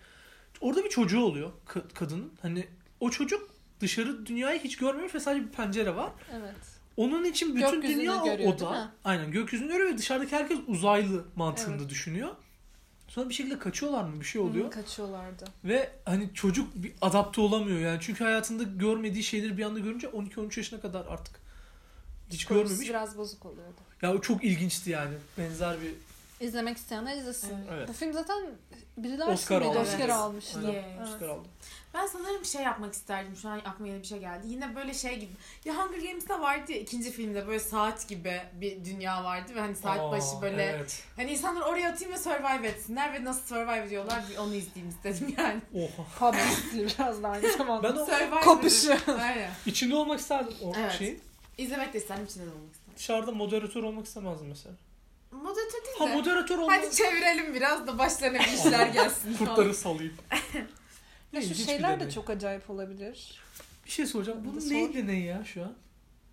[SPEAKER 1] Orada bir çocuğu oluyor ka- kadının. Hani o çocuk dışarı dünyayı hiç görmüyor ve sadece bir pencere var.
[SPEAKER 2] Evet.
[SPEAKER 1] Onun için bütün
[SPEAKER 2] Gökyüzünü
[SPEAKER 1] dünya o
[SPEAKER 2] görüyor, değil mi?
[SPEAKER 1] oda. Aynen gökyüzünü görüyor ve dışarıdaki herkes uzaylı mantığında
[SPEAKER 2] Evet.
[SPEAKER 1] düşünüyor. Sonra bir şekilde kaçıyorlar mı bir şey
[SPEAKER 2] Hı,
[SPEAKER 1] oluyor.
[SPEAKER 2] Kaçıyorlardı.
[SPEAKER 1] Ve hani çocuk bir adapte olamıyor yani. Çünkü hayatında görmediği şeyleri bir anda görünce 12-13 yaşına kadar artık hiç
[SPEAKER 2] Psikolojisi
[SPEAKER 1] görmemiş.
[SPEAKER 2] Biraz bozuk oluyordu.
[SPEAKER 1] Ya o çok ilginçti yani. Benzer bir
[SPEAKER 2] İzlemek isteyenler izlesin.
[SPEAKER 1] Evet.
[SPEAKER 2] Bu film zaten biriler
[SPEAKER 1] Oscar
[SPEAKER 2] mıydı?
[SPEAKER 1] aldı.
[SPEAKER 2] Oscar
[SPEAKER 3] Evet.
[SPEAKER 2] almıştı.
[SPEAKER 1] Aynen.
[SPEAKER 3] Yeah.
[SPEAKER 1] Oscar aldı.
[SPEAKER 3] Ben sanırım şey yapmak isterdim. Şu an aklıma yeni bir şey geldi. Yine böyle şey gibi. Ya Hunger Games'te vardı ya ikinci filmde böyle saat gibi bir dünya vardı ve hani saat
[SPEAKER 1] Aa,
[SPEAKER 3] başı böyle
[SPEAKER 1] Evet.
[SPEAKER 3] hani insanlar oraya atayım ve survive etsinler ve nasıl survive ediyorlar bir onu izleyeyim istedim [laughs] yani.
[SPEAKER 1] Oha.
[SPEAKER 2] Pub stili biraz da aynı zamanda.
[SPEAKER 1] Ben o
[SPEAKER 3] Survive
[SPEAKER 2] Kopuşu.
[SPEAKER 3] Aynen.
[SPEAKER 1] içinde olmak isterdim o
[SPEAKER 3] Evet.
[SPEAKER 1] şeyin.
[SPEAKER 3] İzlemek de isterdim içinde de olmak isterdim.
[SPEAKER 1] Dışarıda moderatör olmak istemezdim mesela.
[SPEAKER 3] Moderatör değil
[SPEAKER 1] Ha
[SPEAKER 3] de.
[SPEAKER 1] moderatör olmak.
[SPEAKER 3] Hadi çevirelim biraz da başlarına bir
[SPEAKER 1] [laughs]
[SPEAKER 3] işler gelsin.
[SPEAKER 1] Kurtları salayım.
[SPEAKER 2] Ya şu
[SPEAKER 1] İlginç bir
[SPEAKER 2] şeyler de
[SPEAKER 1] deney.
[SPEAKER 2] çok acayip olabilir.
[SPEAKER 1] [laughs] Bir şey soracağım.
[SPEAKER 2] Sor.
[SPEAKER 1] Bunun neyi deneyi ya şu an?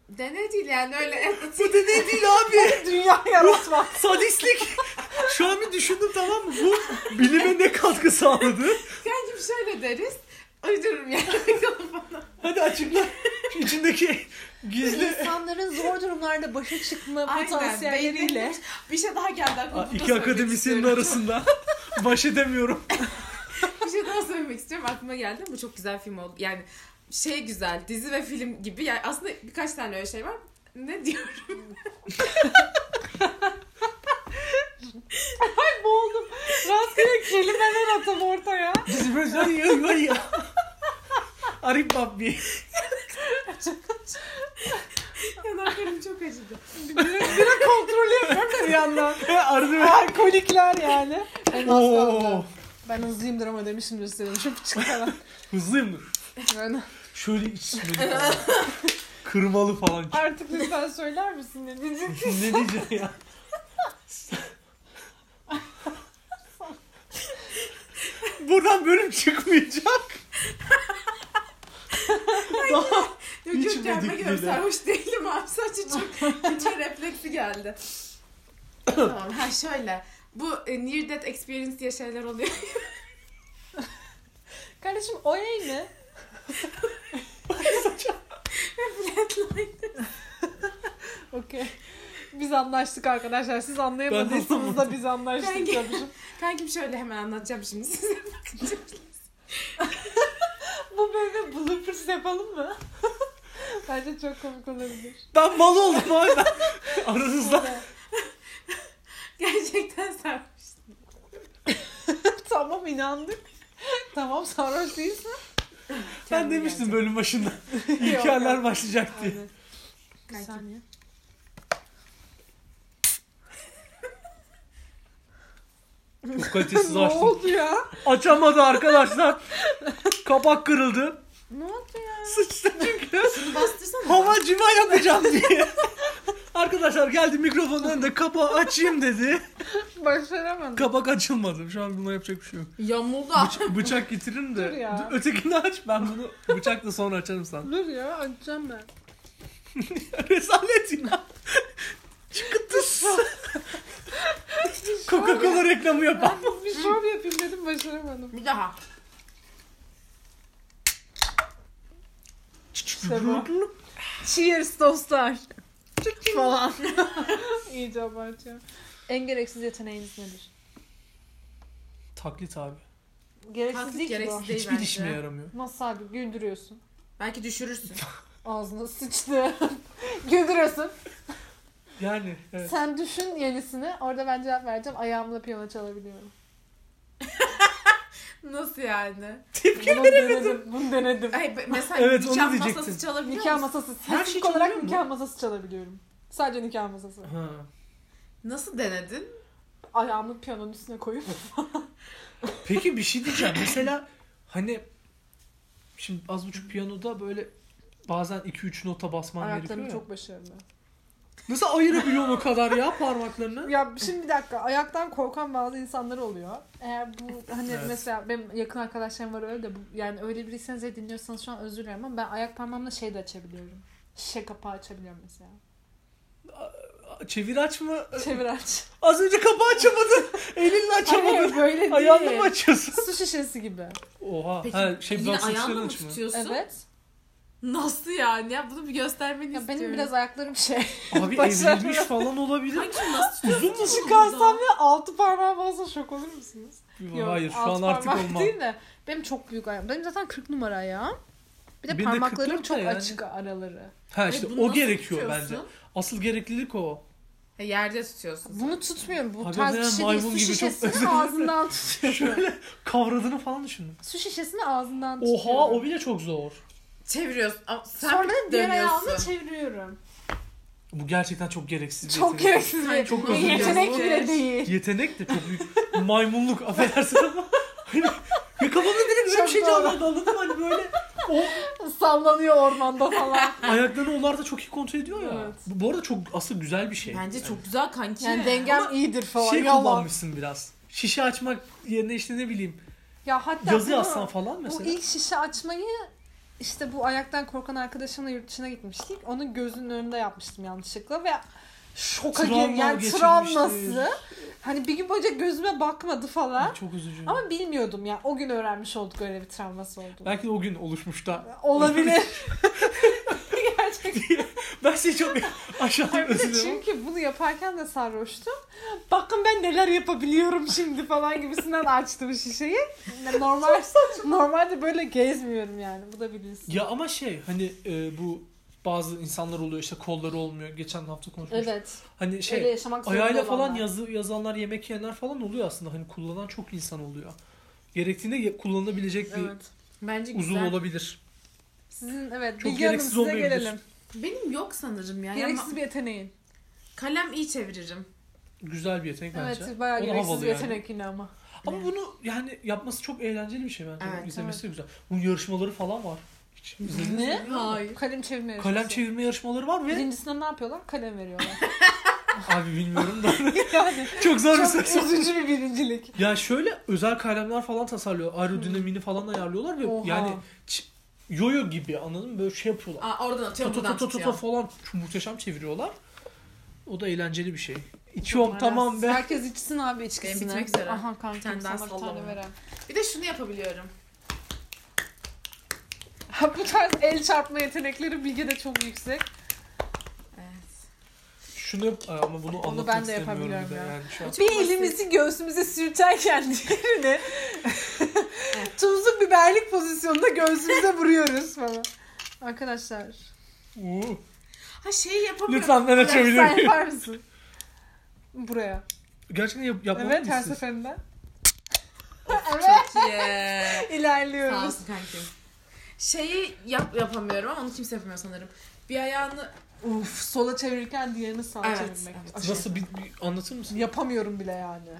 [SPEAKER 3] Deney değil yani öyle.
[SPEAKER 1] Bu deney değil abi.
[SPEAKER 2] Dünya yaratmak.
[SPEAKER 1] Sadistlik. [laughs] şu an bir düşündüm tamam mı? Bu bilime ne katkı sağladı?
[SPEAKER 3] Kankim şöyle deriz. Uydururum yani.
[SPEAKER 1] Hadi
[SPEAKER 2] [laughs]
[SPEAKER 1] açıkla. İçindeki gizli.
[SPEAKER 2] İnsanların zor durumlarda başa çıkma
[SPEAKER 3] Aynen,
[SPEAKER 2] potansiyelleriyle.
[SPEAKER 3] Bir şey daha geldi aklıma.
[SPEAKER 1] Aa,
[SPEAKER 3] Bunu da
[SPEAKER 1] İki
[SPEAKER 3] söylemek
[SPEAKER 1] akademisyenin
[SPEAKER 3] istiyorum.
[SPEAKER 2] [laughs]
[SPEAKER 1] arasında. Baş edemiyorum.
[SPEAKER 3] bir şey daha söylemek istiyorum. Aklıma geldi. Bu çok güzel film oldu. Yani şey güzel. Dizi ve film gibi. Yani aslında birkaç tane öyle şey var. Ne [laughs] diyorum?
[SPEAKER 2] Boğuldum. [laughs] Rastgele kelimeler atıp ortaya.
[SPEAKER 1] Dizi böyle ya ya ya. Arif Babbi.
[SPEAKER 3] Yanaklarım çok acıdı.
[SPEAKER 2] Biri kontrol yapıyorum da bir yandan.
[SPEAKER 1] Arzu
[SPEAKER 2] Alkolikler [laughs] yani. Ben
[SPEAKER 1] Oo.
[SPEAKER 2] Oo. Ben hızlıyımdır ama demişim gösterim. Şu küçük
[SPEAKER 1] [laughs]
[SPEAKER 2] falan.
[SPEAKER 1] Hızlıyımdır.
[SPEAKER 2] Yani
[SPEAKER 1] Şöyle içmeli. Kırmalı falan.
[SPEAKER 2] artık lütfen söyler misin ne diyeceğim.
[SPEAKER 1] ne diyeceğim ya? Buradan bölüm çıkmayacak. Daha
[SPEAKER 3] Yok
[SPEAKER 1] Hiç
[SPEAKER 3] yok gelme
[SPEAKER 1] medik
[SPEAKER 3] gibi
[SPEAKER 1] bile.
[SPEAKER 3] sarhoş değilim abi. Sadece
[SPEAKER 1] [laughs]
[SPEAKER 3] çok kötü refleksi geldi. tamam ha şöyle. Bu e, near death experience diye şeyler oluyor. [laughs]
[SPEAKER 2] Kardeşim o yay ne?
[SPEAKER 3] Flatline.
[SPEAKER 2] Okey. Biz anlaştık arkadaşlar. Siz
[SPEAKER 1] Ben de
[SPEAKER 2] anlayamadıysanız da
[SPEAKER 1] anlamadım.
[SPEAKER 2] biz anlaştık
[SPEAKER 3] Ben-
[SPEAKER 2] tabii.
[SPEAKER 3] Kankim şöyle hemen anlatacağım şimdi size. [laughs]
[SPEAKER 2] Bu bölümde bloopers yapalım mı? [laughs] Bence çok komik olabilir.
[SPEAKER 1] ben mal oldum
[SPEAKER 2] [laughs]
[SPEAKER 1] hala. Aranızda.
[SPEAKER 3] Gerçekten sarhoş.
[SPEAKER 2] tamam inandık. tamam sarhoş değilsin.
[SPEAKER 1] Ben demiştim bölüm başında.
[SPEAKER 2] [laughs] Yok,
[SPEAKER 1] İlkerler
[SPEAKER 2] yok.
[SPEAKER 1] başlayacak diye.
[SPEAKER 2] Aynen. Bir
[SPEAKER 3] Kankim.
[SPEAKER 2] saniye.
[SPEAKER 1] Çok [laughs] kalitesiz
[SPEAKER 2] ne
[SPEAKER 1] açtım.
[SPEAKER 2] oldu ya?
[SPEAKER 1] Açamadı arkadaşlar. Kapak kırıldı.
[SPEAKER 2] Ne oldu ya?
[SPEAKER 1] Sıçtı çünkü.
[SPEAKER 3] Bunu bastırsana.
[SPEAKER 1] Hava cima yapacağım diye.
[SPEAKER 2] [laughs]
[SPEAKER 1] Arkadaşlar geldi mikrofonun önünde kapağı açayım dedi.
[SPEAKER 2] Başaramadım.
[SPEAKER 1] Kapak açılmadı. Şu an buna yapacak bir şey yok.
[SPEAKER 3] Yamuldu.
[SPEAKER 2] [laughs]
[SPEAKER 1] Bıça- bıçak getiririm de.
[SPEAKER 2] Dur ya.
[SPEAKER 1] Dur, Ötekini aç ben bunu bıçakla sonra açarım
[SPEAKER 2] [laughs]
[SPEAKER 1] sana.
[SPEAKER 2] Dur ya açacağım ben.
[SPEAKER 1] Rezalet ya. Çıkıntıs. [laughs] Coca-Cola reklamı yapan.
[SPEAKER 2] bir şov yapayım dedim [laughs] başaramadım.
[SPEAKER 3] Bir daha.
[SPEAKER 2] İşte bu. Cheers dostlar. Falan. [laughs] İyice abartıyor. En gereksiz yeteneğiniz nedir?
[SPEAKER 1] Taklit abi.
[SPEAKER 2] Gereksiz
[SPEAKER 3] Taklit
[SPEAKER 2] değil ki
[SPEAKER 3] gereksiz
[SPEAKER 2] bu.
[SPEAKER 3] değil
[SPEAKER 1] Hiçbir
[SPEAKER 3] bence.
[SPEAKER 1] işime yaramıyor.
[SPEAKER 2] Nasıl abi güldürüyorsun.
[SPEAKER 3] Belki
[SPEAKER 1] [laughs]
[SPEAKER 3] düşürürsün.
[SPEAKER 2] Ağzına sıçtı. [laughs] güldürüyorsun.
[SPEAKER 1] Yani evet.
[SPEAKER 2] Sen düşün yenisini. Orada ben cevap vereceğim. Ayağımla piyano çalabiliyorum.
[SPEAKER 3] Nasıl yani?
[SPEAKER 1] Tepki.
[SPEAKER 2] Bunu denedim. Bunu denedim.
[SPEAKER 3] Ay, be- mesela
[SPEAKER 1] [laughs] Evet, onu
[SPEAKER 3] nikah
[SPEAKER 1] diyecektim.
[SPEAKER 3] masası çalabiliyor
[SPEAKER 2] Nikah
[SPEAKER 3] musun?
[SPEAKER 2] masası.
[SPEAKER 1] Her şey
[SPEAKER 2] Spesifik olarak
[SPEAKER 1] çalınıyor mu?
[SPEAKER 2] nikah masası çalabiliyorum. Sadece nikah masası.
[SPEAKER 1] Ha.
[SPEAKER 3] Nasıl denedin?
[SPEAKER 2] Ayağımı piyanonun üstüne koyup. [laughs]
[SPEAKER 1] Peki bir şey diyeceğim. Mesela hani şimdi az buçuk piyanoda böyle bazen 2-3 nota basman
[SPEAKER 2] Ayaklarım
[SPEAKER 1] gerekiyor
[SPEAKER 2] çok başarılı.
[SPEAKER 1] ya. Nasıl ayırabiliyorsun o kadar ya parmaklarını?
[SPEAKER 2] Ya şimdi bir dakika. Ayaktan korkan bazı insanlar oluyor. Eğer bu hani
[SPEAKER 1] Evet.
[SPEAKER 2] mesela benim yakın arkadaşlarım var öyle de bu, yani öyle biriyseniz de dinliyorsanız şu an özür dilerim ama ben ayak parmağımla şey de açabiliyorum. Şişe kapağı açabiliyorum
[SPEAKER 1] [laughs]
[SPEAKER 2] mesela.
[SPEAKER 1] Çevir açma.
[SPEAKER 2] Çevir aç.
[SPEAKER 1] [laughs] Az önce kapağı açamadın. Elinle açamadın.
[SPEAKER 2] Hayır böyle değil.
[SPEAKER 1] Ayağını mı açıyorsun?
[SPEAKER 2] Su şişesi gibi.
[SPEAKER 1] Oha.
[SPEAKER 3] Peki
[SPEAKER 1] ha, şey
[SPEAKER 3] yine
[SPEAKER 1] biraz
[SPEAKER 3] ayağını
[SPEAKER 1] suçların
[SPEAKER 3] mı
[SPEAKER 1] açma.
[SPEAKER 3] tutuyorsun?
[SPEAKER 2] Evet.
[SPEAKER 3] Nasıl yani? Ya bunu bir göstermeni
[SPEAKER 2] Ya
[SPEAKER 3] istiyorum.
[SPEAKER 2] benim biraz
[SPEAKER 1] [laughs]
[SPEAKER 2] ayaklarım şey.
[SPEAKER 1] Abi
[SPEAKER 2] Başlar.
[SPEAKER 1] evrilmiş falan olabilir.
[SPEAKER 3] Hangi nasıl
[SPEAKER 1] [laughs]
[SPEAKER 3] tutuyorsun?
[SPEAKER 1] Uzun mu?
[SPEAKER 2] Çıkarsam ve altı parmağım olsa şok olur musunuz?
[SPEAKER 1] Hayır şu
[SPEAKER 2] alt
[SPEAKER 1] an artık
[SPEAKER 2] parmak
[SPEAKER 1] olmam.
[SPEAKER 2] Değil de benim çok büyük ayağım. Benim zaten 40 numara ayağım. Bir de
[SPEAKER 1] Benim de
[SPEAKER 2] parmaklarım
[SPEAKER 1] 44
[SPEAKER 2] çok
[SPEAKER 1] da yani.
[SPEAKER 2] açık araları.
[SPEAKER 1] Ha işte o gerekiyor bence. Asıl gereklilik o.
[SPEAKER 3] yerde tutuyorsun.
[SPEAKER 2] Bunu tutmuyorum. Bu
[SPEAKER 1] Abi
[SPEAKER 2] tarz
[SPEAKER 1] ben
[SPEAKER 2] bir şey değil.
[SPEAKER 1] maymun
[SPEAKER 2] Su
[SPEAKER 1] gibi çok özür
[SPEAKER 2] şişesini
[SPEAKER 1] dilerim.
[SPEAKER 2] ağzından tutuyorum.
[SPEAKER 1] Şöyle kavradığını falan düşündüm.
[SPEAKER 2] Su şişesini ağzından tutuyorum.
[SPEAKER 1] Oha o bile çok zor.
[SPEAKER 3] Çeviriyorsun. Ama sen
[SPEAKER 2] Sonra da diğer
[SPEAKER 3] dönüyorsun.
[SPEAKER 2] ayağımla çeviriyorum.
[SPEAKER 1] Bu gerçekten çok gereksiz. bir
[SPEAKER 2] Çok
[SPEAKER 1] yetenek.
[SPEAKER 2] gereksiz
[SPEAKER 3] Sen
[SPEAKER 2] bir
[SPEAKER 1] çok
[SPEAKER 2] bir
[SPEAKER 1] özür dilerim.
[SPEAKER 2] yetenek bile değil.
[SPEAKER 1] Yetenek de çok büyük.
[SPEAKER 2] [laughs]
[SPEAKER 1] Maymunluk affedersin ama. Hani, ya kafamda direkt öyle bir şey
[SPEAKER 2] Çok doğru.
[SPEAKER 1] canlandı anladın mı? Hani
[SPEAKER 2] [laughs]
[SPEAKER 1] böyle o
[SPEAKER 2] Sallanıyor ormanda falan.
[SPEAKER 1] ayaklarını onlar da çok iyi kontrol ediyor ya.
[SPEAKER 2] Evet.
[SPEAKER 1] Bu, bu arada çok asıl güzel bir şey.
[SPEAKER 3] Bence çok güzel kanki.
[SPEAKER 2] [laughs] Yani dengem iyidir falan.
[SPEAKER 1] şey
[SPEAKER 2] yalan.
[SPEAKER 1] kullanmışsın biraz. Şişe açmak yerine işte ne bileyim
[SPEAKER 2] Ya hatta
[SPEAKER 1] yazı
[SPEAKER 2] bunu-
[SPEAKER 1] yazsan falan mesela.
[SPEAKER 2] Bu ilk şişe açmayı işte bu ayaktan korkan arkadaşımla yurt dışına gitmiştik. Onun gözünün önünde yapmıştım yanlışlıkla ve şoka
[SPEAKER 1] Travma
[SPEAKER 2] girdim. Yani
[SPEAKER 1] geçirmiştir.
[SPEAKER 2] travması. Hani bir gün boyunca gözüme bakmadı falan.
[SPEAKER 1] Ay, Çok üzücü.
[SPEAKER 2] Ama bilmiyordum ya. O gün öğrenmiş olduk öyle bir travması olduğunu.
[SPEAKER 1] Belki de o gün oluşmuş da.
[SPEAKER 2] Olabilir.
[SPEAKER 1] [laughs]
[SPEAKER 2] Gerçekten.
[SPEAKER 1] Ben seni çok [laughs] aşağıya
[SPEAKER 2] Bir de
[SPEAKER 1] özür dilerim.
[SPEAKER 2] çünkü bunu yaparken de sarhoştum. Bakın ben neler yapabiliyorum şimdi falan gibisinden açtım şişeyi. Normal, normalde böyle gezmiyorum yani. Bu da bilinsin.
[SPEAKER 1] Ya ama şey hani e, bu bazı insanlar oluyor işte kolları olmuyor. Geçen hafta konuşmuştuk.
[SPEAKER 2] Evet.
[SPEAKER 1] Hani şey
[SPEAKER 2] öyle yaşamak zorunda
[SPEAKER 1] Ayağıyla falan
[SPEAKER 2] olanlar.
[SPEAKER 1] yazı yazanlar, yemek yiyenler falan oluyor aslında. Hani kullanan çok insan oluyor. Gerektiğinde ye- kullanılabilecek bir
[SPEAKER 2] Evet.
[SPEAKER 3] Bence
[SPEAKER 1] uzun
[SPEAKER 3] güzel.
[SPEAKER 1] olabilir.
[SPEAKER 2] Sizin evet
[SPEAKER 1] Çok
[SPEAKER 2] Bilge Hanım
[SPEAKER 1] gereksiz
[SPEAKER 2] size
[SPEAKER 1] olmayabilir.
[SPEAKER 2] gelelim.
[SPEAKER 3] Benim yok sanırım ya. Yani
[SPEAKER 2] Gereksiz bir yeteneğin.
[SPEAKER 3] kalem iyi çeviririm.
[SPEAKER 1] Güzel bir yetenek bence.
[SPEAKER 2] Evet bayağı
[SPEAKER 1] O da
[SPEAKER 2] gereksiz
[SPEAKER 1] havalı
[SPEAKER 2] bir
[SPEAKER 1] yani.
[SPEAKER 2] yetenek yine ama.
[SPEAKER 1] Ama bunu yani yapması çok eğlenceli bir şey bence.
[SPEAKER 3] Evet,
[SPEAKER 1] İzlemesi de güzel. Bunun yarışmaları falan var. Hiç izlediniz mi?
[SPEAKER 3] Hayır.
[SPEAKER 2] Kalem çevirme yarışması.
[SPEAKER 1] Kalem çevirme yarışmaları var ve
[SPEAKER 2] Birincisinde ne yapıyorlar? Kalem veriyorlar.
[SPEAKER 1] [laughs] abi bilmiyorum da [laughs]
[SPEAKER 2] yani
[SPEAKER 1] çok zor bir
[SPEAKER 2] çok
[SPEAKER 1] soru.
[SPEAKER 2] üzücü bir birincilik.
[SPEAKER 1] Ya şöyle özel kalemler falan tasarlıyor. Aerodinamini falan ayarlıyorlar ve
[SPEAKER 2] Oha.
[SPEAKER 1] yani ç- yoyo gibi anladın mı? Böyle şey yapıyorlar.
[SPEAKER 3] Aa, oradan atıyorum
[SPEAKER 1] Tota
[SPEAKER 3] buradan
[SPEAKER 1] tota tota
[SPEAKER 3] tutuyor.
[SPEAKER 1] falan çok muhteşem çeviriyorlar. O da eğlenceli bir şey.
[SPEAKER 2] Umarım
[SPEAKER 1] İçiyorum tamam be.
[SPEAKER 2] Herkes içsin abi içkisini.
[SPEAKER 3] Benim bitmek üzere.
[SPEAKER 2] Aha
[SPEAKER 3] Bir
[SPEAKER 2] kankim
[SPEAKER 3] tane daha
[SPEAKER 2] sana bir tane
[SPEAKER 3] sallama.
[SPEAKER 2] veren.
[SPEAKER 3] Bir de şunu yapabiliyorum.
[SPEAKER 2] Ha, [laughs] Bu tarz el çarpma yetenekleri Bilge de çok yüksek.
[SPEAKER 3] Evet.
[SPEAKER 1] Şunu yap- Ay, ama bunu anlatmak
[SPEAKER 2] ben de
[SPEAKER 1] istemiyorum bir
[SPEAKER 2] yapabiliyorum
[SPEAKER 1] de
[SPEAKER 2] ya.
[SPEAKER 1] yani şu an.
[SPEAKER 3] Çok
[SPEAKER 2] Bir
[SPEAKER 3] basit.
[SPEAKER 2] elimizi göğsümüze sürterken [laughs] diğerini tuzlu biberlik pozisyonunda göğsümüze vuruyoruz falan. Arkadaşlar
[SPEAKER 1] Uuu.
[SPEAKER 3] Ha şeyi yapamıyorum.
[SPEAKER 1] Lütfen ben açabilir
[SPEAKER 2] sen
[SPEAKER 1] miyim?
[SPEAKER 2] yapar mısın? Buraya.
[SPEAKER 1] Gerçekten yap yapmalı
[SPEAKER 2] evet her
[SPEAKER 1] mısın?
[SPEAKER 2] seferinde.
[SPEAKER 3] Çok iyi. Sağ
[SPEAKER 2] İlerliyoruz.
[SPEAKER 3] olsun kankim. Şeyi yap yapamıyorum ama onu kimse yapamıyor sanırım. Bir ayağını
[SPEAKER 2] Uf sola çevirirken diğerini sağa
[SPEAKER 3] Evet,
[SPEAKER 2] çevirmek.
[SPEAKER 3] evet.
[SPEAKER 2] Aşırı.
[SPEAKER 1] Nasıl bir, bir anlatır mısın?
[SPEAKER 2] Yapamıyorum bile yani. Hani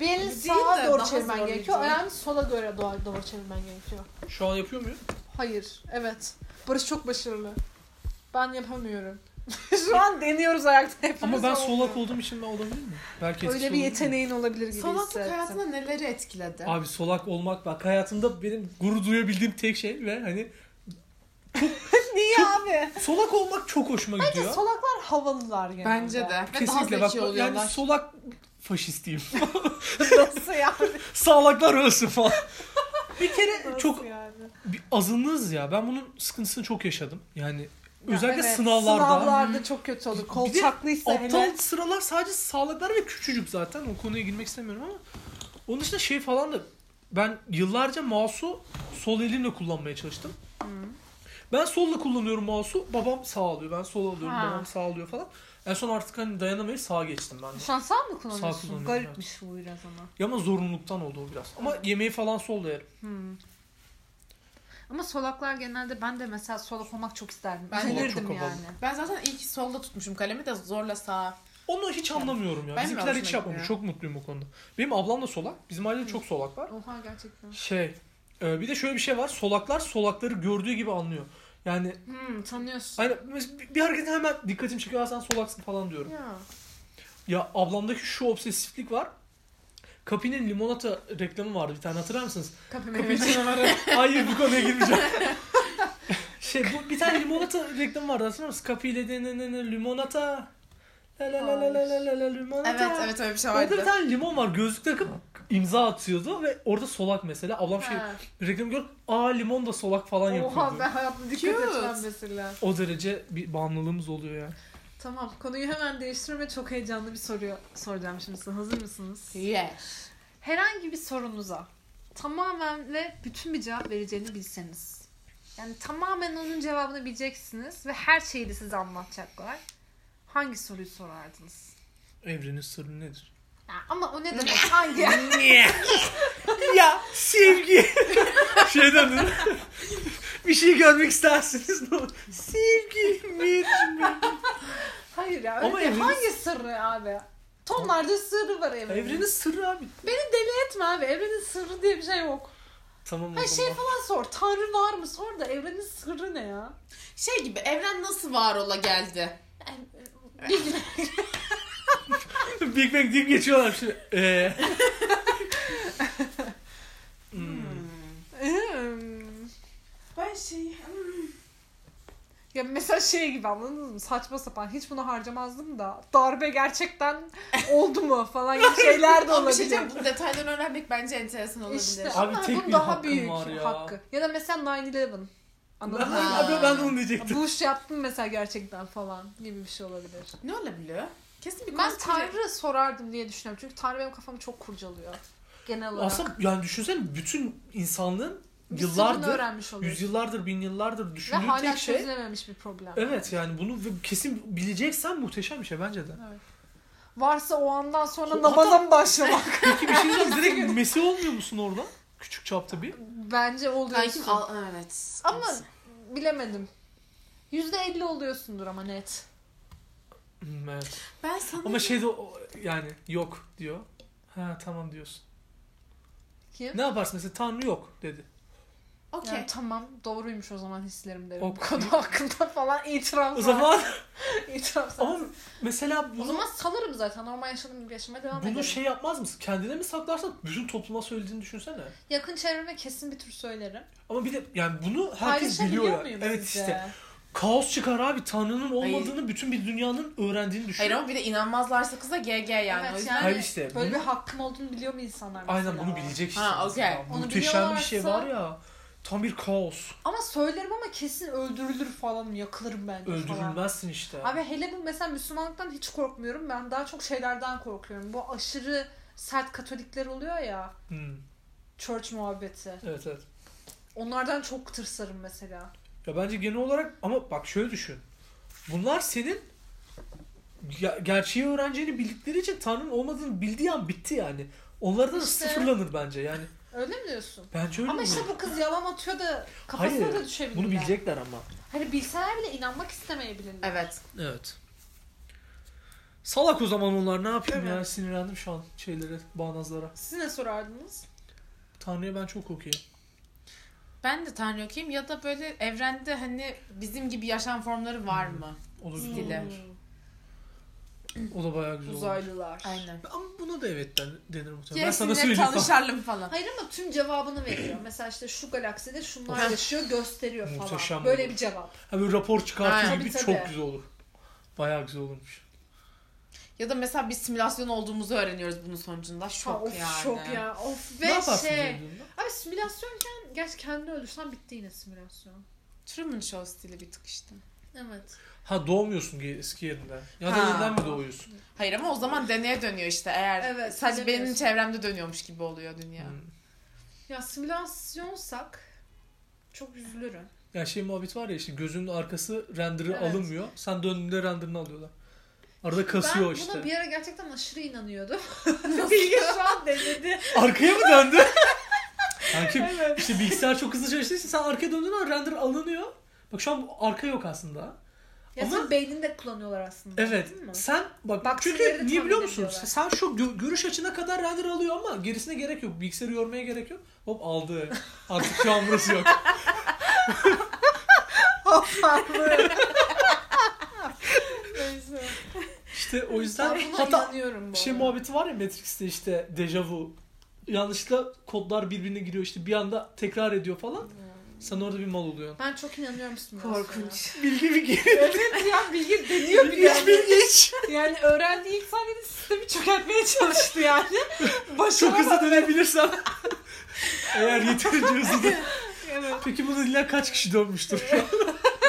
[SPEAKER 2] Bir elini
[SPEAKER 3] Değil
[SPEAKER 2] sağa
[SPEAKER 3] de
[SPEAKER 2] doğru
[SPEAKER 3] daha
[SPEAKER 2] çevirmen
[SPEAKER 3] zor
[SPEAKER 2] gerekiyor.
[SPEAKER 3] bir şey.
[SPEAKER 2] Ayağını sola göre doğru, doğru çevirmen gerekiyor.
[SPEAKER 1] Şu an yapıyor muyum?
[SPEAKER 2] Hayır. Evet. Barış çok başarılı. Ben yapamıyorum. [laughs] Şu an deniyoruz ayakta hepimiz.
[SPEAKER 1] Ama ben solak
[SPEAKER 2] olmuyor.
[SPEAKER 1] olduğum için ben olabilir miyim? Belki
[SPEAKER 2] Öyle
[SPEAKER 1] etkisi
[SPEAKER 2] bir
[SPEAKER 1] olur mu?
[SPEAKER 2] yeteneğin olabilir gibi
[SPEAKER 3] solaklık
[SPEAKER 2] hissettim.
[SPEAKER 3] hayatında neleri etkiledi?
[SPEAKER 1] Abi solak olmak bak hayatımda benim gurur duyabildiğim tek şey ve hani
[SPEAKER 2] Niye abi?
[SPEAKER 1] solak olmak çok hoşuma gidiyor.
[SPEAKER 2] Solaklar havalılar genelde.
[SPEAKER 3] Bence de. Ve
[SPEAKER 1] Kesinlikle
[SPEAKER 3] daha
[SPEAKER 1] bak
[SPEAKER 3] zeki
[SPEAKER 1] yani
[SPEAKER 3] oluyorlar.
[SPEAKER 1] solak faşistiyim. [laughs]
[SPEAKER 2] Nasıl yani?
[SPEAKER 1] Sağlaklar ölsün
[SPEAKER 2] [laughs]
[SPEAKER 1] falan. bir kere
[SPEAKER 2] Nasıl
[SPEAKER 1] çok
[SPEAKER 2] yani?
[SPEAKER 1] bir azınlığız ya. Ben bunun sıkıntısını çok yaşadım. Yani Özellikle
[SPEAKER 2] Evet,
[SPEAKER 1] sınavlarda.
[SPEAKER 2] Sınavlarda çok kötü olur. Kolçaklıysa
[SPEAKER 1] Aptal
[SPEAKER 2] hele.
[SPEAKER 1] sıralar sadece sağlıklar ve küçücük zaten. O konuya girmek istemiyorum ama. Onun dışında şey falan da ben yıllarca mouse'u sol elimle kullanmaya çalıştım. Ben solla kullanıyorum mouse'u. Babam sağ alıyor. Ben sol alıyorum.
[SPEAKER 2] Ha.
[SPEAKER 1] Babam sağ alıyor falan. En son artık hani dayanamayıp sağa geçtim ben de.
[SPEAKER 2] Sen sağ mı
[SPEAKER 1] Sağ
[SPEAKER 2] kullanıyorsun?
[SPEAKER 1] kullanıyorum,
[SPEAKER 2] Garipmiş bu biraz ama.
[SPEAKER 1] Ya ama zorunluluktan oldu o biraz. Ama yemeği falan solda yerim.
[SPEAKER 2] Hmm. Ama solaklar genelde ben de mesela solak olmak çok isterdim.
[SPEAKER 3] Ben
[SPEAKER 1] de.
[SPEAKER 2] Üzülürdüm
[SPEAKER 1] Solak çok
[SPEAKER 2] yani.
[SPEAKER 3] Ben zaten ilk solda tutmuşum kalemi de zorla sağa.
[SPEAKER 1] Onu hiç anlamıyorum ya.
[SPEAKER 3] Ben de
[SPEAKER 1] Bizimkiler
[SPEAKER 3] hoşuma
[SPEAKER 1] hiç yapmamış.
[SPEAKER 3] gitmiyor.
[SPEAKER 1] Çok mutluyum o konuda. Benim ablam da solak. Bizim ailede çok solak var.
[SPEAKER 2] Oha gerçekten.
[SPEAKER 1] Şey, e, bir de şöyle bir şey var. Solaklar solakları gördüğü gibi anlıyor. Yani [laughs]
[SPEAKER 2] Hmm, tanıyorsun.
[SPEAKER 1] hani mesela bir- bir harekete hemen dikkatim çekiyor. "Aa, sen solaksın falan diyorum.
[SPEAKER 3] Ya.
[SPEAKER 1] Ya ablamdaki şu obsesiflik var. Kapi'nin limonata reklamı vardı bir tane hatırlar mısınız?
[SPEAKER 2] Kapı
[SPEAKER 3] Kapıyı
[SPEAKER 2] meyvesi.
[SPEAKER 3] canavarı.
[SPEAKER 1] Hayır bu konuya girmeyeceğim. [laughs] şey bu bir tane limonata reklamı vardı hatırlar mısınız? Kapi ile de ne ne ne limonata. La la la la la la la la limonata.
[SPEAKER 3] evet evet öyle bir şey
[SPEAKER 1] Orada bir
[SPEAKER 3] vardı.
[SPEAKER 1] tane limon var gözlük takıp imza atıyordu ve orada solak mesela. Ablam şey
[SPEAKER 2] Ha.
[SPEAKER 1] reklam gör aa limon da solak falan yapıyordu.
[SPEAKER 2] Oha ben hayatımda dikkat
[SPEAKER 3] Cute.
[SPEAKER 2] etmem mesela.
[SPEAKER 1] O derece bir bağımlılığımız oluyor ya.
[SPEAKER 2] Tamam konuyu hemen değiştiriyorum ve çok heyecanlı bir soruyu soracağım şimdi size. Hazır mısınız?
[SPEAKER 3] Yes.
[SPEAKER 2] Herhangi bir sorunuza tamamen ve bütün bir cevap vereceğini bilseniz. Yani tamamen onun cevabını bileceksiniz ve her şeyi de size anlatacaklar. Hangi soruyu sorardınız?
[SPEAKER 1] Evrenin sırrı nedir?
[SPEAKER 2] Ya ama o ne demek? Hangi?
[SPEAKER 1] [laughs] ya [laughs] sevgi. Şeyden dedim. bir şey görmek isterseniz ne olur. Sevgi nedir?
[SPEAKER 2] Hayır ya. Öyle
[SPEAKER 1] Ama
[SPEAKER 2] değil.
[SPEAKER 1] evrenin-
[SPEAKER 2] Hangi sırrı abi? Tonlarca sırrı var evrenin.
[SPEAKER 1] Evrenin sırrı abi.
[SPEAKER 2] Beni deli etme abi. Evrenin sırrı diye bir şey yok.
[SPEAKER 1] Tamam o
[SPEAKER 2] Ha şey
[SPEAKER 1] zaman.
[SPEAKER 2] falan sor. Tanrı var mı? Sor da evrenin sırrı ne ya?
[SPEAKER 3] Şey gibi evren nasıl var ola geldi?
[SPEAKER 1] [laughs] Big Bang deyip geçiyorlar şimdi.
[SPEAKER 2] [laughs]
[SPEAKER 1] Ee... Hmm.
[SPEAKER 2] Hmm.
[SPEAKER 3] Ben şey...
[SPEAKER 2] Ya mesela şey gibi anladınız mı? Saçma sapan. Hiç bunu harcamazdım da. Darbe [laughs] gerçekten oldu mu falan gibi şeyler de
[SPEAKER 3] Ama bir şey
[SPEAKER 2] olabilir.
[SPEAKER 3] diyeceğim, bu detaylarını öğrenmek bence enteresan olabilir.
[SPEAKER 2] işte
[SPEAKER 1] Abi
[SPEAKER 2] ama
[SPEAKER 1] tek
[SPEAKER 2] bunun
[SPEAKER 1] bir
[SPEAKER 2] daha
[SPEAKER 1] hakkım
[SPEAKER 2] büyük
[SPEAKER 1] var ya.
[SPEAKER 2] hakkı. Ya da mesela 9-11. Anladın mı?
[SPEAKER 3] Ha.
[SPEAKER 1] Abi ben de onu diyecektim.
[SPEAKER 2] Bush yaptım mesela gerçekten falan gibi bir şey olabilir.
[SPEAKER 3] Ne olabiliyor? Kesin bir
[SPEAKER 2] Ben
[SPEAKER 3] koskoca-
[SPEAKER 2] Tanrı sorardım diye düşünüyorum. Çünkü Tanrı benim kafamı çok kurcalıyor. Genel olarak.
[SPEAKER 1] Aslında yani düşünsene bütün insanlığın
[SPEAKER 2] Bir sırrını
[SPEAKER 1] yıllardır,
[SPEAKER 2] öğrenmiş oluyor.
[SPEAKER 1] yüzyıllardır, bin yıllardır
[SPEAKER 2] Ve
[SPEAKER 1] düşündüğü
[SPEAKER 2] hala
[SPEAKER 1] tek şey
[SPEAKER 2] çözülememiş bir problem.
[SPEAKER 1] Evet yani bunu ve kesin bileceksen muhteşem bir şey bence de.
[SPEAKER 2] Varsa o andan sonra
[SPEAKER 1] O
[SPEAKER 2] namaza
[SPEAKER 1] adam- [laughs]
[SPEAKER 2] mı başlamak?
[SPEAKER 1] Peki
[SPEAKER 2] [laughs]
[SPEAKER 1] bir şey diyeceğim direkt Mesih olmuyor musun orada? Küçük çapta bir.
[SPEAKER 2] Bence oluyorsun.
[SPEAKER 3] Kankim al evet.
[SPEAKER 2] Ama bilemedim. Yüzde elli oluyorsundur ama net.
[SPEAKER 1] Hmm, evet.
[SPEAKER 3] ben sana
[SPEAKER 1] Ama şey de o- yani yok diyor. Ha tamam diyorsun.
[SPEAKER 2] Kim?
[SPEAKER 1] Ne yaparsın mesela Tanrı yok dedi.
[SPEAKER 3] okey.
[SPEAKER 2] Yani tamam doğruymuş o zaman hislerim derim.
[SPEAKER 1] O-
[SPEAKER 2] O konu hakkında falan itiraf
[SPEAKER 1] O
[SPEAKER 2] [laughs]
[SPEAKER 1] zaman [laughs]
[SPEAKER 2] itiraf
[SPEAKER 1] ama mesela
[SPEAKER 2] O
[SPEAKER 1] bunu,
[SPEAKER 2] zaman salarım zaten. Normal yaşadığım gibi yaşamaya devam ederim.
[SPEAKER 1] bunu şey yapmaz mısın? Kendine mi saklarsan bütün topluma söylediğini düşünsene.
[SPEAKER 2] Yakın çevreme kesin bir tür söylerim.
[SPEAKER 1] Ama bir de yani bunu herkes biliyor
[SPEAKER 2] Paylaşabiliyor
[SPEAKER 1] ya.
[SPEAKER 2] muyum
[SPEAKER 1] Evet
[SPEAKER 2] sizce?
[SPEAKER 1] işte. Kaos çıkar abi. Tanrı'nın olmadığını bütün bir dünyanın öğrendiğini düşün.
[SPEAKER 3] Hayır ama bir de inanmazlarsa kıza GG yani.
[SPEAKER 2] Evet,
[SPEAKER 3] o yüzden
[SPEAKER 2] yani
[SPEAKER 1] Hayır işte,
[SPEAKER 2] Böyle
[SPEAKER 1] bunu-
[SPEAKER 2] bir hakkım olduğunu biliyor mu insanlar mesela?
[SPEAKER 1] Aynen bunu bilecek işte.
[SPEAKER 3] Ha, okey.
[SPEAKER 1] mesela.
[SPEAKER 2] Onu
[SPEAKER 1] Muhteşem bir şey var
[SPEAKER 2] biliyorlarsa-
[SPEAKER 1] ya. Tam bir kaos.
[SPEAKER 2] Ama söylerim ama kesin öldürülür falan. Yakılırım bence falan.
[SPEAKER 1] Öldürülmezsin işte.
[SPEAKER 2] Abi hele bu mesela Müslümanlıktan hiç korkmuyorum. Ben daha çok şeylerden korkuyorum. Bu aşırı sert Katolikler oluyor ya.
[SPEAKER 1] Hmm,
[SPEAKER 2] Church muhabbeti.
[SPEAKER 1] evet evet.
[SPEAKER 2] Onlardan çok tırsarım mesela.
[SPEAKER 1] Ya bence genel olarak ama bak şöyle düşün. Bunlar senin ge- gerçeği öğreneceğini bildikleri için Tanrı'nın olmadığını bildiği an bitti yani. Onlarda da
[SPEAKER 2] İşte.
[SPEAKER 1] sıfırlanır bence yani.
[SPEAKER 2] Öyle mi diyorsun?
[SPEAKER 1] Bence öyle
[SPEAKER 2] Ama
[SPEAKER 1] mi?
[SPEAKER 2] işte bu kız yalan atıyor da kafasına
[SPEAKER 1] Hayır,
[SPEAKER 2] da düşebilirler.
[SPEAKER 1] Bunu bilecekler ama.
[SPEAKER 2] Hani bilseler bile inanmak istemeyebilirler.
[SPEAKER 3] Evet.
[SPEAKER 1] Evet. Salak o zaman onlar ne yapayım
[SPEAKER 2] Evet.
[SPEAKER 1] ya sinirlendim şu an şeylere, bağnazlara.
[SPEAKER 2] Siz ne sorardınız?
[SPEAKER 1] Tanrı'ya ben çok okuyayım.
[SPEAKER 3] Ben de Tanrı okuyayım ya da böyle evrende hani bizim gibi yaşam formları var mı?
[SPEAKER 1] Olabilir.
[SPEAKER 3] Stile.
[SPEAKER 1] olabilir. O da bayağı güzel olur.
[SPEAKER 2] Hmm, Uzaylılar.
[SPEAKER 3] Aynen.
[SPEAKER 1] Ama buna da evet den- denir muhtemelen. Ben sana
[SPEAKER 3] Kesinlikle
[SPEAKER 1] söyleyeyim.
[SPEAKER 3] tanışalım falan.
[SPEAKER 2] Hayır ama tüm cevabını veriyor. Mesela işte şu galakside şunlar
[SPEAKER 3] Of.
[SPEAKER 2] yaşıyor gösteriyor falan.
[SPEAKER 1] Muhteşem
[SPEAKER 2] Böyle
[SPEAKER 1] olur.
[SPEAKER 2] bir cevap.
[SPEAKER 1] Ha böyle rapor çıkartıyor
[SPEAKER 3] Ha.
[SPEAKER 1] gibi
[SPEAKER 2] Tabii,
[SPEAKER 1] çok
[SPEAKER 2] tabii.
[SPEAKER 1] güzel olur. Bayağı güzel olurmuş.
[SPEAKER 3] [laughs] Ya da mesela bir simülasyon olduğumuzu öğreniyoruz bunun sonucunda. Şok
[SPEAKER 2] Ha, of
[SPEAKER 3] yani.
[SPEAKER 2] şok ya. Of ve
[SPEAKER 1] ne yaparsın
[SPEAKER 2] şey.
[SPEAKER 1] diye diyorum
[SPEAKER 2] Abi simülasyonken gerçi kendini öldürsen bitti yine simülasyon.
[SPEAKER 3] Truman Show stili bir tık işte. Evet.
[SPEAKER 1] Ha doğmuyorsun ge- eski yerinden. Ya da
[SPEAKER 3] Ha.
[SPEAKER 1] yeniden mi doğuyorsun?
[SPEAKER 3] Hayır ama o zaman deneye dönüyor işte eğer.
[SPEAKER 2] Evet,
[SPEAKER 3] Sadece benim
[SPEAKER 2] dönüyorsun.
[SPEAKER 3] çevremde dönüyormuş gibi oluyor dünya.
[SPEAKER 1] Hmm.
[SPEAKER 2] Ya simülasyonsak çok üzülürüm.
[SPEAKER 1] Ya şey muhabbet var ya işte gözünün arkası render'ı
[SPEAKER 2] Evet.
[SPEAKER 1] alınmıyor. Sen döndüğünde render'ını alıyorlar. Arada kasıyor
[SPEAKER 2] ben
[SPEAKER 1] işte.
[SPEAKER 2] buna bir ara gerçekten aşırı inanıyordum. Bilgi şu an denedi.
[SPEAKER 1] [laughs] Arkaya mı
[SPEAKER 2] [laughs]
[SPEAKER 1] döndü? Kankim işte bilgisayar çok hızlı çalıştığı için sen arkaya döndüğün an render alınıyor. Bak şu an arka yok aslında.
[SPEAKER 2] Ya
[SPEAKER 1] Ama-
[SPEAKER 2] senin beynini de kullanıyorlar aslında.
[SPEAKER 1] Evet.
[SPEAKER 2] Değil mi?
[SPEAKER 1] Sen bak
[SPEAKER 2] Bak,
[SPEAKER 1] çünkü
[SPEAKER 2] sinirleri
[SPEAKER 1] niye
[SPEAKER 2] tahmin
[SPEAKER 1] biliyor musun?
[SPEAKER 2] ediyorlar.
[SPEAKER 1] Sen şu gö- görüş açına kadar render alıyor ama gerisine gerek yok. Bilgisayarı yormaya gerek yok. Hop aldı. Artık şu an burası
[SPEAKER 2] [laughs]
[SPEAKER 1] yok.
[SPEAKER 2] Neyse.
[SPEAKER 1] İşte o yüzden
[SPEAKER 2] Ben buna
[SPEAKER 1] hatta
[SPEAKER 2] inanıyorum bu
[SPEAKER 1] bir şey
[SPEAKER 2] arada.
[SPEAKER 1] muhabbeti var ya Matrix'te işte dejavu. Yanlışlıkla kodlar birbirine giriyor işte bir anda tekrar ediyor falan.
[SPEAKER 2] Hmm.
[SPEAKER 1] Sen orada bir mal oluyorsun.
[SPEAKER 2] Ben çok inanıyorum simülasyona.
[SPEAKER 3] Korkunç.
[SPEAKER 1] Bilgi mi giriyor?
[SPEAKER 2] evet ya bilgi deniyor
[SPEAKER 1] [laughs]
[SPEAKER 2] bir
[SPEAKER 1] Hiç
[SPEAKER 2] yani.
[SPEAKER 1] bilgi hiç.
[SPEAKER 2] Yani öğrendiği ilk saniyede sistemi çökertmeye [laughs] çalıştı yani.
[SPEAKER 1] Çok
[SPEAKER 2] Başaramadı.
[SPEAKER 1] hızlı dönebilirsem. Eğer yeterince
[SPEAKER 3] [laughs]
[SPEAKER 1] hızlı dön-
[SPEAKER 2] Evet.
[SPEAKER 1] Peki bunu dinleyen kaç kişi dönmüştür?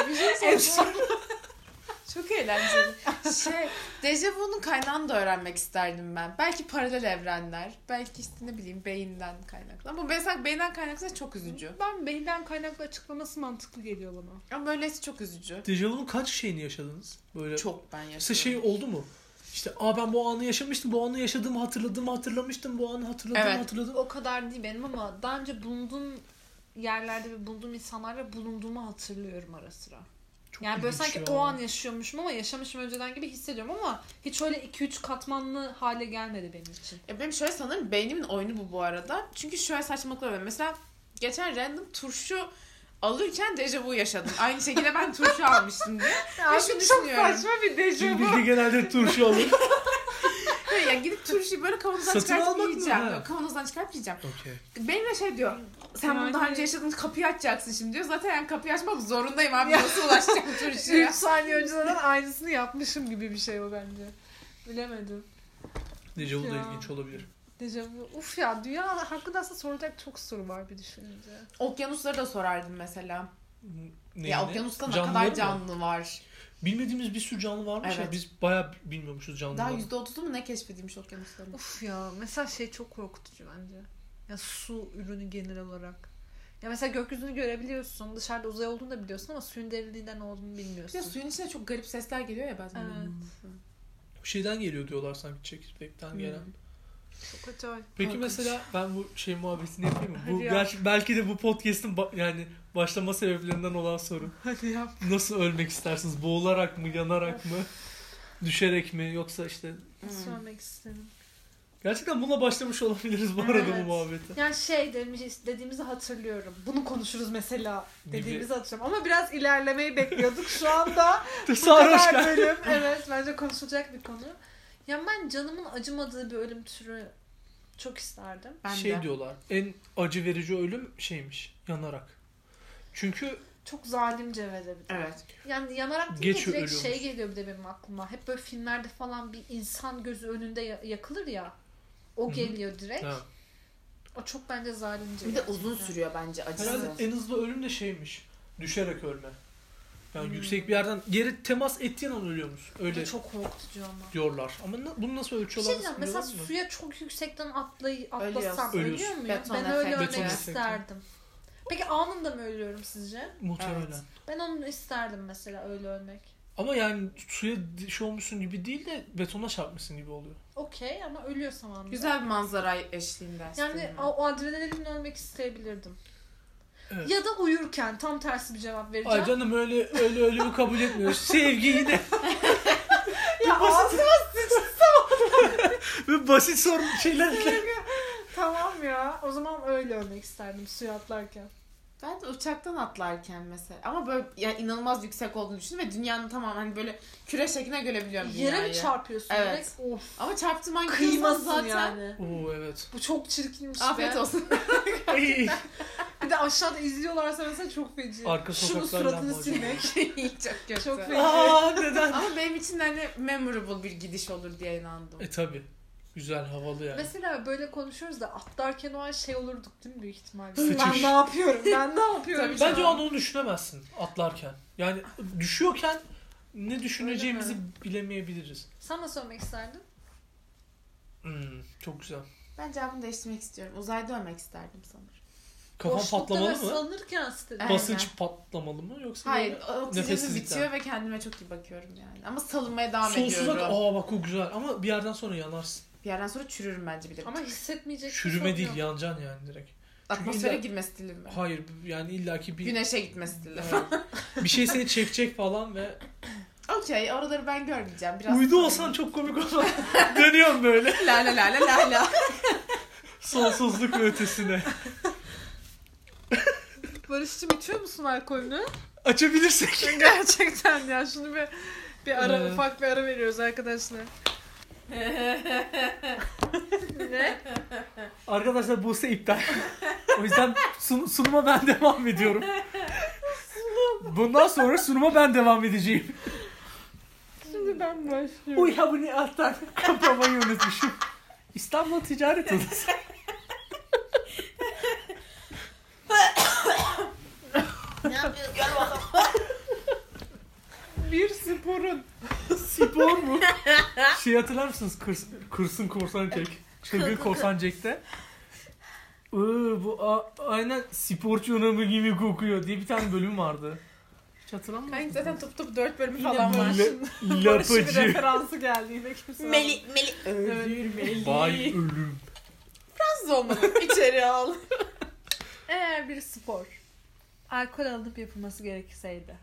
[SPEAKER 3] Bir şey soracağım. Çok eğlenceli. [laughs] Şey, dejavu'nun kaynağını da öğrenmek isterdim ben. Belki paralel evrenler, belki işte ne bileyim beyinden kaynaklı. Ama mesela beyinden kaynaklı çok üzücü.
[SPEAKER 2] Ben beyinden kaynaklı açıklaması mantıklı geliyor bana.
[SPEAKER 3] Ama böylesi çok üzücü.
[SPEAKER 1] Dejavu'nun kaç şeyini yaşadınız? Böyle
[SPEAKER 3] Çok ben
[SPEAKER 1] Mesela
[SPEAKER 3] yaşıyorum.
[SPEAKER 1] şey oldu mu? İşte aa ben bu anı yaşamıştım, bu anı yaşadığımı hatırladığımı hatırlamıştım, bu anı hatırladığımı
[SPEAKER 3] Evet.
[SPEAKER 1] hatırladım.
[SPEAKER 2] O kadar değil benim ama daha önce bulunduğum yerlerde ve bulunduğum insanlarla bulunduğumu hatırlıyorum ara sıra.
[SPEAKER 1] Çok
[SPEAKER 2] Yani böyle
[SPEAKER 1] ilginç
[SPEAKER 2] sanki
[SPEAKER 1] ya.
[SPEAKER 2] o an yaşıyormuşum ama yaşamışım önceden gibi hissediyorum ama hiç öyle 2-3 katmanlı hale gelmedi benim için.
[SPEAKER 3] Ya E, benim şöyle sanırım beynimin oyunu bu bu arada. Çünkü şöyle saçmalıklar oluyor. Mesela geçen random turşu alırken dejavu yaşadım. Aynı şekilde ben turşu almıştım diye. [laughs] Ya şunu düşünüyorum.
[SPEAKER 2] bir
[SPEAKER 1] Çünkü
[SPEAKER 2] [laughs]
[SPEAKER 1] bilgi
[SPEAKER 3] [laughs]
[SPEAKER 1] genelde turşu olur.
[SPEAKER 3] Böyle ya gidip turşuyu böyle kavanozdan
[SPEAKER 1] Satın
[SPEAKER 3] çıkartıp
[SPEAKER 1] almak mı?
[SPEAKER 3] yiyeceğim.
[SPEAKER 1] Ha.
[SPEAKER 3] Yok, kavanozdan çıkartıp yiyeceğim.
[SPEAKER 1] Okey.
[SPEAKER 3] Benim de şey diyor. Sen bunu
[SPEAKER 2] Yani-
[SPEAKER 3] daha önce yaşadın kapıyı açacaksın şimdi diyor. Zaten yani kapıyı açmak zorundayım abi. Nasıl ulaşacağım [laughs] turşuya?
[SPEAKER 2] 3 saniye önceden aynısını yapmışım gibi bir şey o bence. Bilemedim.
[SPEAKER 1] Dejavu da
[SPEAKER 2] Ya.
[SPEAKER 1] ilginç olabilir.
[SPEAKER 2] Dejavu. Uf ya dünya hakkında aslında soracak çok soru var bir düşününce.
[SPEAKER 3] Okyanusları da sorardım mesela.
[SPEAKER 1] Ne,
[SPEAKER 3] ya okyanusta ne
[SPEAKER 1] Canlılar
[SPEAKER 3] kadar
[SPEAKER 1] mı?
[SPEAKER 3] canlı var?
[SPEAKER 1] Bilmediğimiz bir sürü canlı varmış ya.
[SPEAKER 3] Evet.
[SPEAKER 1] Biz bayağı
[SPEAKER 3] Daha
[SPEAKER 1] bilmiyormuşuz canlıları.
[SPEAKER 3] yüzde otuzu mu ne keşfedilmiş okyanusların?
[SPEAKER 2] Uf ya mesela şey çok korkutucu bence. Ya su ürünü genel olarak. Ya mesela gökyüzünü görebiliyorsun. Dışarıda uzay olduğunu da biliyorsun ama suyun derinliğinden olduğunu
[SPEAKER 3] Bir
[SPEAKER 2] bilmiyorsun.
[SPEAKER 3] de suyun içinde çok garip sesler geliyor ya bazen.
[SPEAKER 2] Evet.
[SPEAKER 1] Bir şeyden geliyor diyorlar sanki
[SPEAKER 3] Hmm.
[SPEAKER 1] çekirdekten gelen.
[SPEAKER 2] Çok acayip.
[SPEAKER 1] Peki
[SPEAKER 2] Korkunç.
[SPEAKER 1] mesela ben bu şey muhabbetini yapayım
[SPEAKER 2] [laughs]
[SPEAKER 1] mı? Bu
[SPEAKER 2] Hadi yap.
[SPEAKER 1] gerçi- belki de bu podcast'in ba- yani başlama sebeplerinden olan soru.
[SPEAKER 2] Hadi yap.
[SPEAKER 1] Nasıl ölmek istersiniz? Boğularak mı, yanarak mı, düşerek mi yoksa işte
[SPEAKER 2] Nasıl ölmek istedim?
[SPEAKER 1] Gerçekten bununla başlamış olabiliriz bu arada bu
[SPEAKER 2] Evet.
[SPEAKER 1] muhabbeti.
[SPEAKER 2] Yani şey demiş, dediğimizi hatırlıyorum. Bunu konuşuruz mesela
[SPEAKER 1] Gibi.
[SPEAKER 2] dediğimizi hatırlıyorum. Ama biraz ilerlemeyi bekliyorduk. Şu
[SPEAKER 1] [laughs]
[SPEAKER 2] anda bu
[SPEAKER 1] Sarhoş
[SPEAKER 2] kadar
[SPEAKER 1] gel.
[SPEAKER 2] bölüm. Evet bence konuşulacak bir konu. Ya ben canımın acımadığı bir ölüm türü çok isterdim.
[SPEAKER 3] Ben
[SPEAKER 1] Şey
[SPEAKER 3] de.
[SPEAKER 1] diyorlar. En acı verici ölüm şeymiş. Yanarak. Çünkü
[SPEAKER 2] Çok zalimce ve de bir de.
[SPEAKER 3] Evet.
[SPEAKER 2] Yani yanarak değil
[SPEAKER 1] Geç
[SPEAKER 2] de direkt
[SPEAKER 1] ölüyormuş.
[SPEAKER 2] şey geliyor bir de benim aklıma. Hep böyle filmlerde falan bir insan gözü önünde ya- yakılır ya.
[SPEAKER 1] Hı
[SPEAKER 2] O
[SPEAKER 1] hı.
[SPEAKER 2] geliyor direkt.
[SPEAKER 1] ha.
[SPEAKER 2] O çok bence zalimce.
[SPEAKER 3] Bir de
[SPEAKER 2] gerçekten.
[SPEAKER 3] uzun sürüyor bence acısı.
[SPEAKER 1] herhalde en hızlı ölüm de şeymiş. Düşerek ölme. Yani
[SPEAKER 2] Hmm.
[SPEAKER 1] yüksek bir yerden geri temas ettiğin an ölüyormuş.
[SPEAKER 2] Bu da
[SPEAKER 1] Öyle
[SPEAKER 2] çok korkutucu ama.
[SPEAKER 1] diyorlar. Ama na- bunu nasıl
[SPEAKER 2] Bir şey
[SPEAKER 1] ölçüyorlar?
[SPEAKER 2] diyeceğim,
[SPEAKER 1] nasıl
[SPEAKER 2] mesela
[SPEAKER 1] biliyorlar mı?
[SPEAKER 2] suya çok yüksekten atlay atlasam
[SPEAKER 3] Ölüyorsun.
[SPEAKER 2] ölüyor
[SPEAKER 1] Ölüyorsun.
[SPEAKER 2] muyum?
[SPEAKER 3] Beton
[SPEAKER 2] ben
[SPEAKER 3] efekt.
[SPEAKER 2] öyle
[SPEAKER 1] Beton
[SPEAKER 2] ölmek
[SPEAKER 1] efekti.
[SPEAKER 2] isterdim. Peki anında mı ölüyorum sizce?
[SPEAKER 1] Muhtemelen.
[SPEAKER 3] Evet.
[SPEAKER 2] Ben onu isterdim mesela öyle ölmek.
[SPEAKER 1] Ama yani suya di- şey olmuşsun gibi değil de betona çarpmışsın gibi oluyor.
[SPEAKER 2] Okey ama ölüyorsam anında.
[SPEAKER 3] Güzel bir manzara eşliğinde.
[SPEAKER 2] Yani
[SPEAKER 3] aslında.
[SPEAKER 2] o, o adrenalinle ölmek isteyebilirdim.
[SPEAKER 1] Evet.
[SPEAKER 2] Ya da uyurken tam tersi bir cevap vereceğim.
[SPEAKER 1] Ay canım öyle öyle ölümü kabul
[SPEAKER 2] [laughs]
[SPEAKER 1] etmiyoruz. Sevgi yine.
[SPEAKER 2] ya ağzım-
[SPEAKER 1] Böyle basit sorun şeylerle.
[SPEAKER 2] tamam ya. O zaman öyle ölmek isterdim suya atlarken.
[SPEAKER 3] Ben de uçaktan atlarken mesela. Ama böyle yani inanılmaz yüksek olduğunu düşündüm ve dünyanın tamamen hani böyle küre şekline görebiliyorum
[SPEAKER 2] Yere mi
[SPEAKER 3] dünyayı.
[SPEAKER 2] çarpıyorsun
[SPEAKER 3] Evet.
[SPEAKER 2] direkt? Of.
[SPEAKER 3] Ama çarptığım an gidiyorsan
[SPEAKER 2] Kıymasın
[SPEAKER 3] zaten.
[SPEAKER 2] yani.
[SPEAKER 1] [laughs] Oo evet.
[SPEAKER 2] Bu çok çirkinmiş
[SPEAKER 3] Afiyet
[SPEAKER 2] be.
[SPEAKER 3] olsun. [laughs]
[SPEAKER 1] Ay.
[SPEAKER 2] Bir de aşağıda izliyorlarsa mesela çok feci.
[SPEAKER 1] Arka
[SPEAKER 2] Şunu
[SPEAKER 1] sokaklar
[SPEAKER 2] suratını
[SPEAKER 1] lambacı. [laughs]
[SPEAKER 2] silmek.
[SPEAKER 3] Çok kötü.
[SPEAKER 2] Çok feci.
[SPEAKER 1] Aa neden?
[SPEAKER 3] Ama benim için hani memorable bir gidiş olur diye inandım.
[SPEAKER 1] E tabi. Güzel, havalı yani.
[SPEAKER 2] Mesela böyle konuşuyoruz da atlarken o an şey olurduk değil mi büyük ihtimalle?
[SPEAKER 1] Sıçış.
[SPEAKER 2] Ben ne yapıyorum? Ben ne yapıyorum?
[SPEAKER 3] Tabii
[SPEAKER 2] şu
[SPEAKER 1] Bence o
[SPEAKER 2] an?
[SPEAKER 1] an onu düşünemezsin atlarken. Yani düşüyorken ne düşüneceğimizi
[SPEAKER 2] Öyle
[SPEAKER 1] bilemeyebiliriz.
[SPEAKER 2] Sen nasıl olmak isterdin?
[SPEAKER 1] Hmm, çok güzel.
[SPEAKER 3] Ben cevabımı değiştirmek istiyorum. Uzayda ölmek isterdim sanırım.
[SPEAKER 1] Kafan
[SPEAKER 2] Boşlukta
[SPEAKER 1] patlamalı
[SPEAKER 2] ve
[SPEAKER 1] mı?
[SPEAKER 2] Salınırken sitede.
[SPEAKER 3] Aynen.
[SPEAKER 1] Basınç patlamalı mı yoksa
[SPEAKER 3] Hayır,
[SPEAKER 1] böyle
[SPEAKER 3] oksijenim
[SPEAKER 1] nefessizlikten.
[SPEAKER 3] bitiyor ve kendime çok iyi bakıyorum yani. Ama salınmaya devam
[SPEAKER 1] sonsuza
[SPEAKER 3] ediyorum.
[SPEAKER 1] aa bak o güzel ama bir yerden sonra yanarsın.
[SPEAKER 3] Bir yerden sonra çürürüm bence bir de.
[SPEAKER 2] Ama hissetmeyecek.
[SPEAKER 1] Çürüme değil
[SPEAKER 2] ya.
[SPEAKER 1] yanacaksın yani direkt.
[SPEAKER 3] Atmosfere
[SPEAKER 1] illa-
[SPEAKER 3] girme stili mi?
[SPEAKER 1] Hayır yani illaki bir
[SPEAKER 3] Güneşe gitme stili.
[SPEAKER 1] bir şey seni çekecek falan ve
[SPEAKER 3] Okey, oraları ben görmeyeceğim. [laughs] Biraz
[SPEAKER 1] uydu olsan çok komik olur. [laughs] Dönüyorum
[SPEAKER 3] [laughs]
[SPEAKER 1] böyle
[SPEAKER 3] La la la la la la.
[SPEAKER 1] sonsuzluk ve ötesine.
[SPEAKER 2] Barış'cığım içiyor musun alkolünü? [laughs]
[SPEAKER 1] Açabilirsek.
[SPEAKER 2] Gerçekten ya şunu bir, bir ara
[SPEAKER 1] Evet.
[SPEAKER 2] ufak bir ara veriyoruz [laughs] arkadaşlar. ne?
[SPEAKER 1] Arkadaşlar Buse iptal. o yüzden sun- sunuma ben devam ediyorum. Bundan sonra sunuma ben devam edeceğim.
[SPEAKER 2] Şimdi ben başlıyorum.
[SPEAKER 1] Uy ha bu ne alttan [laughs] kapamayı unutmuşum. İstanbul Ticaret Odası.
[SPEAKER 3] ne yapıyorsun? Gör bakalım.
[SPEAKER 2] Bir sporun.
[SPEAKER 1] Spor mu? Şey hatırlar mısınız? Kırs, kırsın korsan Jack.
[SPEAKER 3] [laughs]
[SPEAKER 1] Çılgın korsan Jack'te. Iıı bu a- aynen sporcu anamı gibi kokuyor diye bir tane bölüm vardı. Hiç hatırlamıyor
[SPEAKER 3] Kanka
[SPEAKER 1] musunuz?
[SPEAKER 3] zaten top top 4 bölümü
[SPEAKER 2] Yine
[SPEAKER 3] falan var.
[SPEAKER 2] böyle.
[SPEAKER 1] La-
[SPEAKER 2] Barış'ın bir
[SPEAKER 1] lapacı.
[SPEAKER 2] referansı geldi yine kimse.
[SPEAKER 3] Meli.
[SPEAKER 2] Ölür Melih.
[SPEAKER 1] Vay ölüm.
[SPEAKER 3] Nasıl olmalı? İçeri al.
[SPEAKER 2] Eğer bir spor alkol alınıp yapılması gerekseydi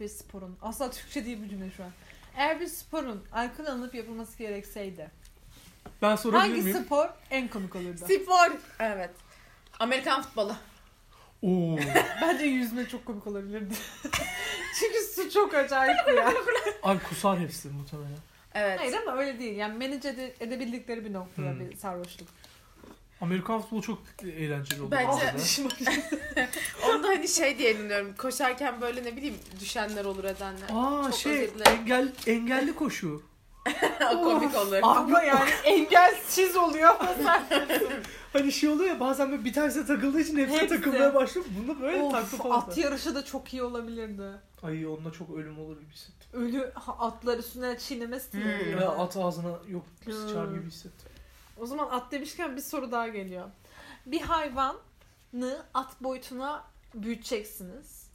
[SPEAKER 2] bir sporun asla Türkçe değil bu cümle şu an. Eğer bir sporun alkol alınıp yapılması gerekseydi
[SPEAKER 1] Ben sorabilir
[SPEAKER 2] hangi
[SPEAKER 1] miyim?
[SPEAKER 2] spor en komik olurdu?
[SPEAKER 3] Spor. Evet. Amerikan futbolu.
[SPEAKER 1] Oo.
[SPEAKER 2] Bence yüzme çok komik olabilirdi. [laughs] Çünkü su çok acayip bir yer.
[SPEAKER 1] Abi kusar hepsi muhtemelen.
[SPEAKER 3] Evet.
[SPEAKER 2] Hayır ama öyle değil. Yani manage ede- edebildikleri bir noktada
[SPEAKER 1] Hmm.
[SPEAKER 2] bir sarhoşluk.
[SPEAKER 1] Amerikan futbolu çok eğlenceli oldu.
[SPEAKER 3] Bence-
[SPEAKER 1] bu arada.
[SPEAKER 3] Onda hani şey diye dinliyorum. Koşarken böyle ne bileyim düşenler olur edenler. [laughs]
[SPEAKER 1] Aa
[SPEAKER 3] Çok
[SPEAKER 1] şey
[SPEAKER 3] özür dilerim.
[SPEAKER 1] engel engelli koşu.
[SPEAKER 3] o komik olur.
[SPEAKER 2] Ama yani engelsiz oluyor.
[SPEAKER 1] Hani şey oluyor ya bazen böyle bir tanesine takıldığı için hepsine
[SPEAKER 2] Hepsi.
[SPEAKER 1] takılmaya başlıyor. Bunda böyle taklı
[SPEAKER 2] of,
[SPEAKER 1] falan.
[SPEAKER 2] at yarışı da çok iyi olabilirdi.
[SPEAKER 1] Ay onda çok ölüm olur gibi hissettim.
[SPEAKER 2] Ölü ha- atlar üstüne çiğnemesi diye.
[SPEAKER 3] Hmm.
[SPEAKER 2] geliyor.
[SPEAKER 1] Ya at ağzına yok sıçar
[SPEAKER 2] Hmm.
[SPEAKER 1] gibi hissettim.
[SPEAKER 2] O zaman at demişken bir soru daha geliyor. Bir hayvanı at boyutuna büyüteceksiniz.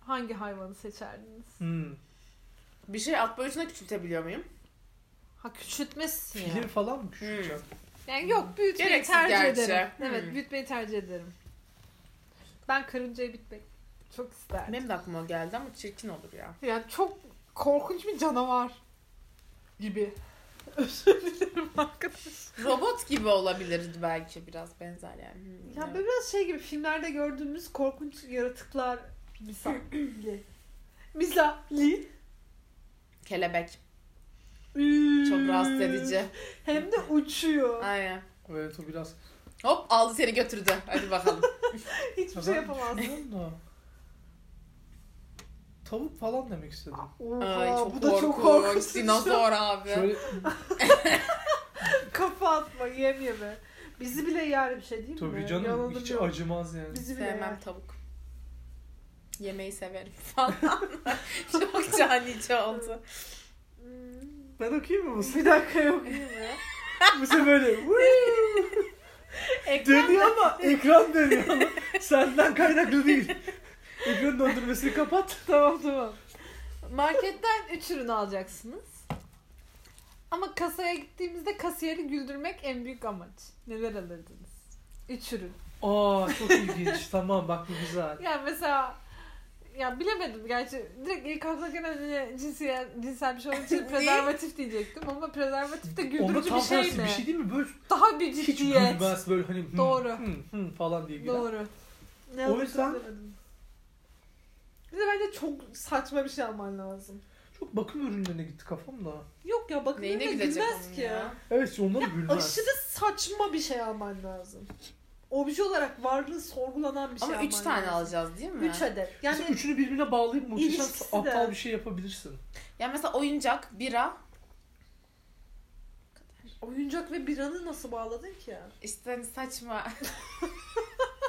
[SPEAKER 2] Hangi hayvanı seçerdiniz?
[SPEAKER 1] Hmm.
[SPEAKER 3] Bir şey at boyutuna küçültebiliyor muyum?
[SPEAKER 2] Ha küçültmesin ya. Hmm.
[SPEAKER 1] Film falan mı küçültecek?
[SPEAKER 2] Yani yok büyütmeyi
[SPEAKER 3] Gereksiz
[SPEAKER 2] tercih
[SPEAKER 3] gerçi.
[SPEAKER 2] ederim.
[SPEAKER 3] Hmm.
[SPEAKER 2] Evet büyütmeyi tercih ederim. Ben karıncayı bitmek çok isterdim.
[SPEAKER 3] Benim de aklıma o geldi ama çirkin olur ya.
[SPEAKER 2] Yani çok korkunç bir canavar
[SPEAKER 3] [laughs]
[SPEAKER 2] gibi.
[SPEAKER 3] Robot gibi olabilirdi belki biraz benzer yani. Hmm,
[SPEAKER 2] Ya
[SPEAKER 3] evet.
[SPEAKER 2] böyle biraz şey gibi filmlerde gördüğümüz korkunç yaratıklar
[SPEAKER 3] [laughs]
[SPEAKER 2] misali. misali.
[SPEAKER 3] Kelebek. Çok rahatsız
[SPEAKER 2] Hmm.
[SPEAKER 3] edici.
[SPEAKER 2] Hem de uçuyor.
[SPEAKER 3] Aynen.
[SPEAKER 1] Evet o biraz.
[SPEAKER 3] Hop aldı seni götürdü. Hadi bakalım.
[SPEAKER 2] [laughs] Hiçbir şey yapamaz.
[SPEAKER 1] Düşünüyorum da. Tavuk falan demek istedim.
[SPEAKER 2] Oha,
[SPEAKER 3] Ay çok
[SPEAKER 2] bu
[SPEAKER 3] korkunç.
[SPEAKER 2] da çok korkunç.
[SPEAKER 3] Dinozor abi.
[SPEAKER 1] [laughs] Şöyle
[SPEAKER 2] [laughs] Kafa atma, yem yeme. Bizi bile yer bir şey değil mi?
[SPEAKER 1] tabii canım
[SPEAKER 2] Yalanım
[SPEAKER 1] hiç
[SPEAKER 2] yok.
[SPEAKER 1] acımaz yani.
[SPEAKER 2] Bizi bile
[SPEAKER 3] Sevmem
[SPEAKER 2] yer.
[SPEAKER 3] tavuk. Yemeği severim falan. [laughs] Çok canice oldu.
[SPEAKER 2] Hmm,
[SPEAKER 1] Ben okuyayım mı bu [laughs]
[SPEAKER 2] Bir dakika yok değil mi?
[SPEAKER 1] Bu sefer böyle "Vuuu!" dönüyor ama ekran dönüyor ama senden kaynaklı değil. [laughs] Ekran döndürmesini kapat.
[SPEAKER 2] [laughs] tamam tamam. Marketten 3 ürün alacaksınız. Ama kasaya gittiğimizde kasiyeri güldürmek en büyük amaç. Neler alırdınız? 3 ürün.
[SPEAKER 1] Aa çok ilginç. tamam bak bu güzel.
[SPEAKER 2] Yani mesela ya bilemedim gerçi direkt ilk akla gelen hani cinsel, cinsel bir
[SPEAKER 3] [laughs]
[SPEAKER 2] şey olduğu için
[SPEAKER 3] Ne?
[SPEAKER 2] prezervatif diyecektim ama prezervatif de
[SPEAKER 1] Onda
[SPEAKER 2] güldürücü
[SPEAKER 1] tam
[SPEAKER 2] bir şey
[SPEAKER 1] tersi
[SPEAKER 2] mi?
[SPEAKER 1] bir şey değil mi? Böyle
[SPEAKER 2] Daha bir
[SPEAKER 1] hiç
[SPEAKER 2] ciddiyet.
[SPEAKER 1] gülmez böyle hani hı,
[SPEAKER 2] Doğru.
[SPEAKER 1] hı, hı falan diye girer.
[SPEAKER 2] Doğru. Ne
[SPEAKER 1] O
[SPEAKER 2] olduğunu
[SPEAKER 1] yüzden-
[SPEAKER 2] bilemedim. Bir de bence çok saçma bir şey alman lazım.
[SPEAKER 1] Çok bakım ürünlerine gitti kafam da.
[SPEAKER 2] Yok ya bakın
[SPEAKER 3] Neyine
[SPEAKER 2] öyle
[SPEAKER 3] gülecek
[SPEAKER 2] gülmez
[SPEAKER 3] onun
[SPEAKER 2] ki.
[SPEAKER 3] ya?
[SPEAKER 1] Evet onlara gülmez.
[SPEAKER 2] Aşırı saçma bir şey alman lazım. Obje olarak varlığı sorgulanan bir şey
[SPEAKER 3] Ama
[SPEAKER 2] alman
[SPEAKER 3] üç tane
[SPEAKER 2] lazım.
[SPEAKER 3] alacağız değil mi?
[SPEAKER 2] 3 adet.
[SPEAKER 1] yani
[SPEAKER 2] Yani
[SPEAKER 1] üçünü birbirine bağlayıp muhteşem
[SPEAKER 2] İlişkisi de.
[SPEAKER 1] aptal bir şey yapabilirsin.
[SPEAKER 3] Ya mesela oyuncak, bira.
[SPEAKER 2] Oyuncak ve biranı nasıl bağladın ki?
[SPEAKER 3] İşte hani saçma.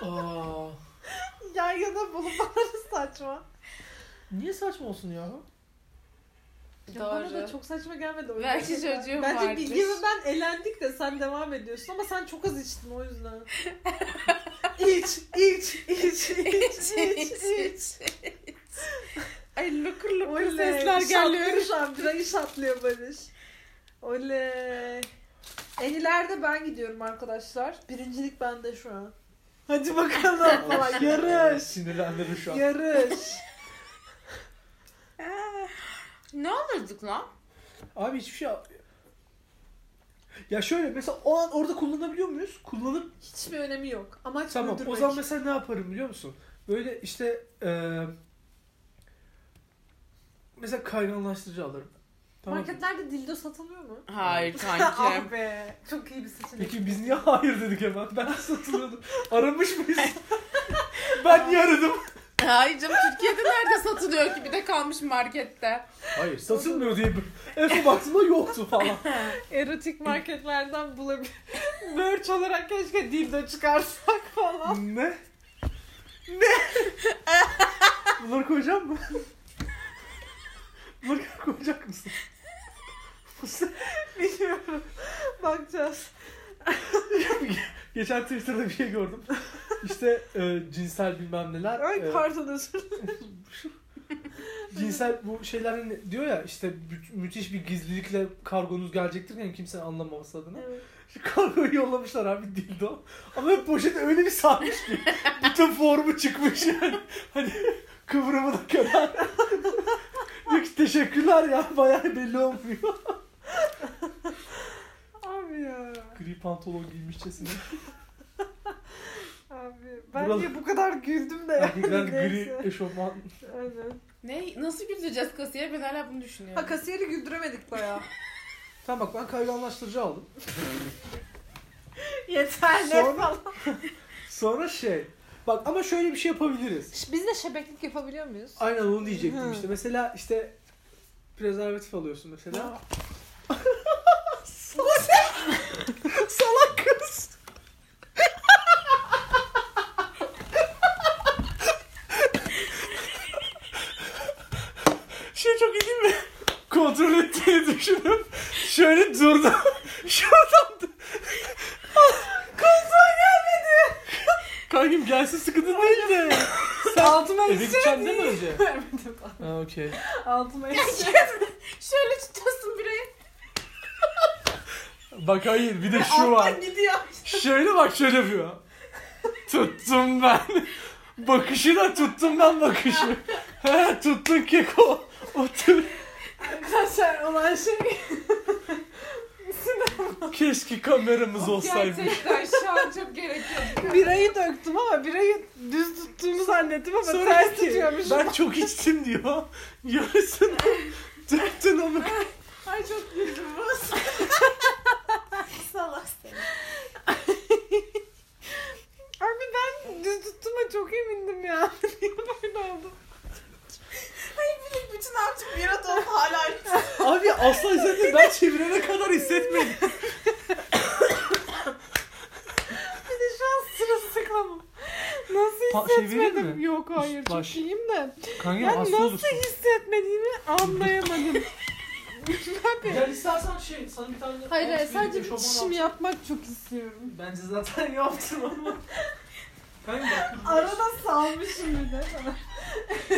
[SPEAKER 1] Aa,
[SPEAKER 2] Yan yana bulunmaları [laughs] saçma.
[SPEAKER 1] niye saçma olsun ya?
[SPEAKER 2] Ya
[SPEAKER 3] Doğru.
[SPEAKER 2] Bana da
[SPEAKER 3] [laughs]
[SPEAKER 2] çok saçma gelmedi. oyuncak.
[SPEAKER 3] Belki çocuğum
[SPEAKER 2] Bence
[SPEAKER 3] vardır.
[SPEAKER 2] Bilge ve ben elendik de sen devam ediyorsun ama sen çok az içtin o yüzden.
[SPEAKER 3] [laughs]
[SPEAKER 2] iç, iç, iç, iç, iç, iç.
[SPEAKER 3] Ay lukur lukur
[SPEAKER 2] Oley.
[SPEAKER 3] sesler geliyor.
[SPEAKER 2] Şatlıyor şu an. Birayı şatlıyor Barış. Oley. En ileride ben gidiyorum arkadaşlar. Birincilik bende şu an.
[SPEAKER 1] [laughs]
[SPEAKER 2] Hadi bakalım. Ulan Yarış.
[SPEAKER 1] Sinirlendirir şu an.
[SPEAKER 2] Yarış. [laughs]
[SPEAKER 3] Ne olurduk lan?
[SPEAKER 1] Abi hiçbir şey... Ya şöyle mesela o an orada kullanabiliyor muyuz? Kullanıp
[SPEAKER 2] Hiçbir önemi yok. Amaç
[SPEAKER 1] Tamam
[SPEAKER 2] öldürmek.
[SPEAKER 1] o zaman mesela ne yaparım biliyor musun? Böyle işte eee mesela kayganlaştırıcı alırım. Tamam. mı?
[SPEAKER 2] Marketlerde dildo satılıyor mu? [laughs]
[SPEAKER 3] Hayır
[SPEAKER 2] ah
[SPEAKER 3] kankim.
[SPEAKER 2] be. Çok iyi bir seçenek.
[SPEAKER 1] Peki biz niye hayır dedik hemen? Ben [laughs] satılıyordum. Aramış mıyız? ben niye aradım?
[SPEAKER 3] Hayır canım Türkiye'de nerede satılıyor ki? Bir de kalmış markette.
[SPEAKER 1] Hayır satılmıyor diye. En son baktığımda yoktu falan.
[SPEAKER 2] Erotik marketlerden bulabilir. [laughs] Merch olarak keşke dildo [laughs] çıkarsak falan.
[SPEAKER 1] ne? Ne? Bunları koyacak mı? Bunları koyacak mısın?
[SPEAKER 2] Bilmiyorum. Bakacağız.
[SPEAKER 1] Geçen Twitter'da bir şey gördüm. İşte e, cinsel bilmem neler.
[SPEAKER 2] Ay
[SPEAKER 1] e,
[SPEAKER 2] pardon özür
[SPEAKER 1] cinsel bu şeyler hani diyor ya işte mü- müthiş bir gizlilikle kargonuz gelecektir yani kimse anlamaması adına.
[SPEAKER 2] dilerim.
[SPEAKER 1] Şu kargoyu yollamışlar abi dildo. Ama hep poşeti öyle bir sarmış ki bütün formu çıkmış yani. Hani kıvrımı da kadar. Diyor ki teşekkürler ya bayağı belli olmuyor.
[SPEAKER 2] Abi ya.
[SPEAKER 1] Gri pantolon [laughs] giymişçesine.
[SPEAKER 2] Abi ben
[SPEAKER 1] Buralı-
[SPEAKER 2] niye bu kadar güldüm de
[SPEAKER 1] Erkekler
[SPEAKER 2] yani.
[SPEAKER 1] gri
[SPEAKER 2] neyse.
[SPEAKER 1] eşofman.
[SPEAKER 2] Aynen.
[SPEAKER 3] Ne? Nasıl güldüreceğiz kasaya? Ben hala bunu düşünüyorum.
[SPEAKER 2] Ha kasiyeri güldüremedik [laughs] bayağı.
[SPEAKER 1] Tamam bak ben kayganlaştırıcı aldım.
[SPEAKER 2] Yeterli
[SPEAKER 1] Sonra-
[SPEAKER 2] falan.
[SPEAKER 1] [laughs] Sonra şey. Bak ama şöyle bir şey yapabiliriz.
[SPEAKER 2] Biz de şebeklik yapabiliyor muyuz?
[SPEAKER 1] Aynen onu
[SPEAKER 2] Hı.
[SPEAKER 1] diyecektim işte. Mesela işte prezervatif alıyorsun [laughs] mesela. Salak kız. şey çok iyi değil mi? Kontrol ettiğini düşünüp şöyle durdu. Şuradan da- Kontrol gelmedi. Kankim gelsin sıkıntı değil de. Sen
[SPEAKER 2] Altıma
[SPEAKER 1] Eve gideceksin değil mi
[SPEAKER 2] [laughs]
[SPEAKER 1] önce? Ha okey.
[SPEAKER 2] Altıma işe.
[SPEAKER 3] Şöyle tutuyorsun birayı.
[SPEAKER 1] Bak hayır bir de şu var.
[SPEAKER 2] gidiyor.
[SPEAKER 1] Şöyle bak şöyle yapıyor. Tuttum ben. Bakışı da tuttum ben bakışı. He tuttun keko. Otur.
[SPEAKER 2] Arkadaşlar olan şey
[SPEAKER 1] Keşke kameramız olsaydı.
[SPEAKER 3] Gerçekten şu an çok gerekiyor.
[SPEAKER 2] birayı döktüm ama birayı düz tuttuğumu zannettim ama
[SPEAKER 1] Sonra
[SPEAKER 2] ters
[SPEAKER 1] diyor ki,
[SPEAKER 2] tutuyormuşum.
[SPEAKER 1] ben çok içtim diyor. Yarısını tuttun ama.
[SPEAKER 2] Ay çok güldüm [laughs] bu.
[SPEAKER 3] Salak seni.
[SPEAKER 2] Abi ben düz tuttuğuma çok emindim ya. [laughs] Niye böyle oldu?
[SPEAKER 3] Bütün artık bir at olup hala
[SPEAKER 1] Abi asla hissetmedim. Ben çevirene kadar hissetmedim.
[SPEAKER 2] Bir de şu an sırılsıklamım. Nasıl
[SPEAKER 1] Pa- şey verir
[SPEAKER 2] hissetmedim?
[SPEAKER 1] mi?
[SPEAKER 2] Yok hayır
[SPEAKER 1] Baş-
[SPEAKER 2] çok iyiyim de.
[SPEAKER 1] Kanka
[SPEAKER 2] Ben nasıl hissetmediğimi anlayamadım.
[SPEAKER 1] Ya istersen şey sana bir tane...
[SPEAKER 2] [laughs] hayır hayır
[SPEAKER 1] altı
[SPEAKER 2] sadece
[SPEAKER 1] bir
[SPEAKER 2] bir
[SPEAKER 1] eşofman
[SPEAKER 2] çişim yapmak çok istiyorum.
[SPEAKER 1] Bence zaten [laughs] yaptım ama. Kanka.
[SPEAKER 2] Arada salmışım bir de.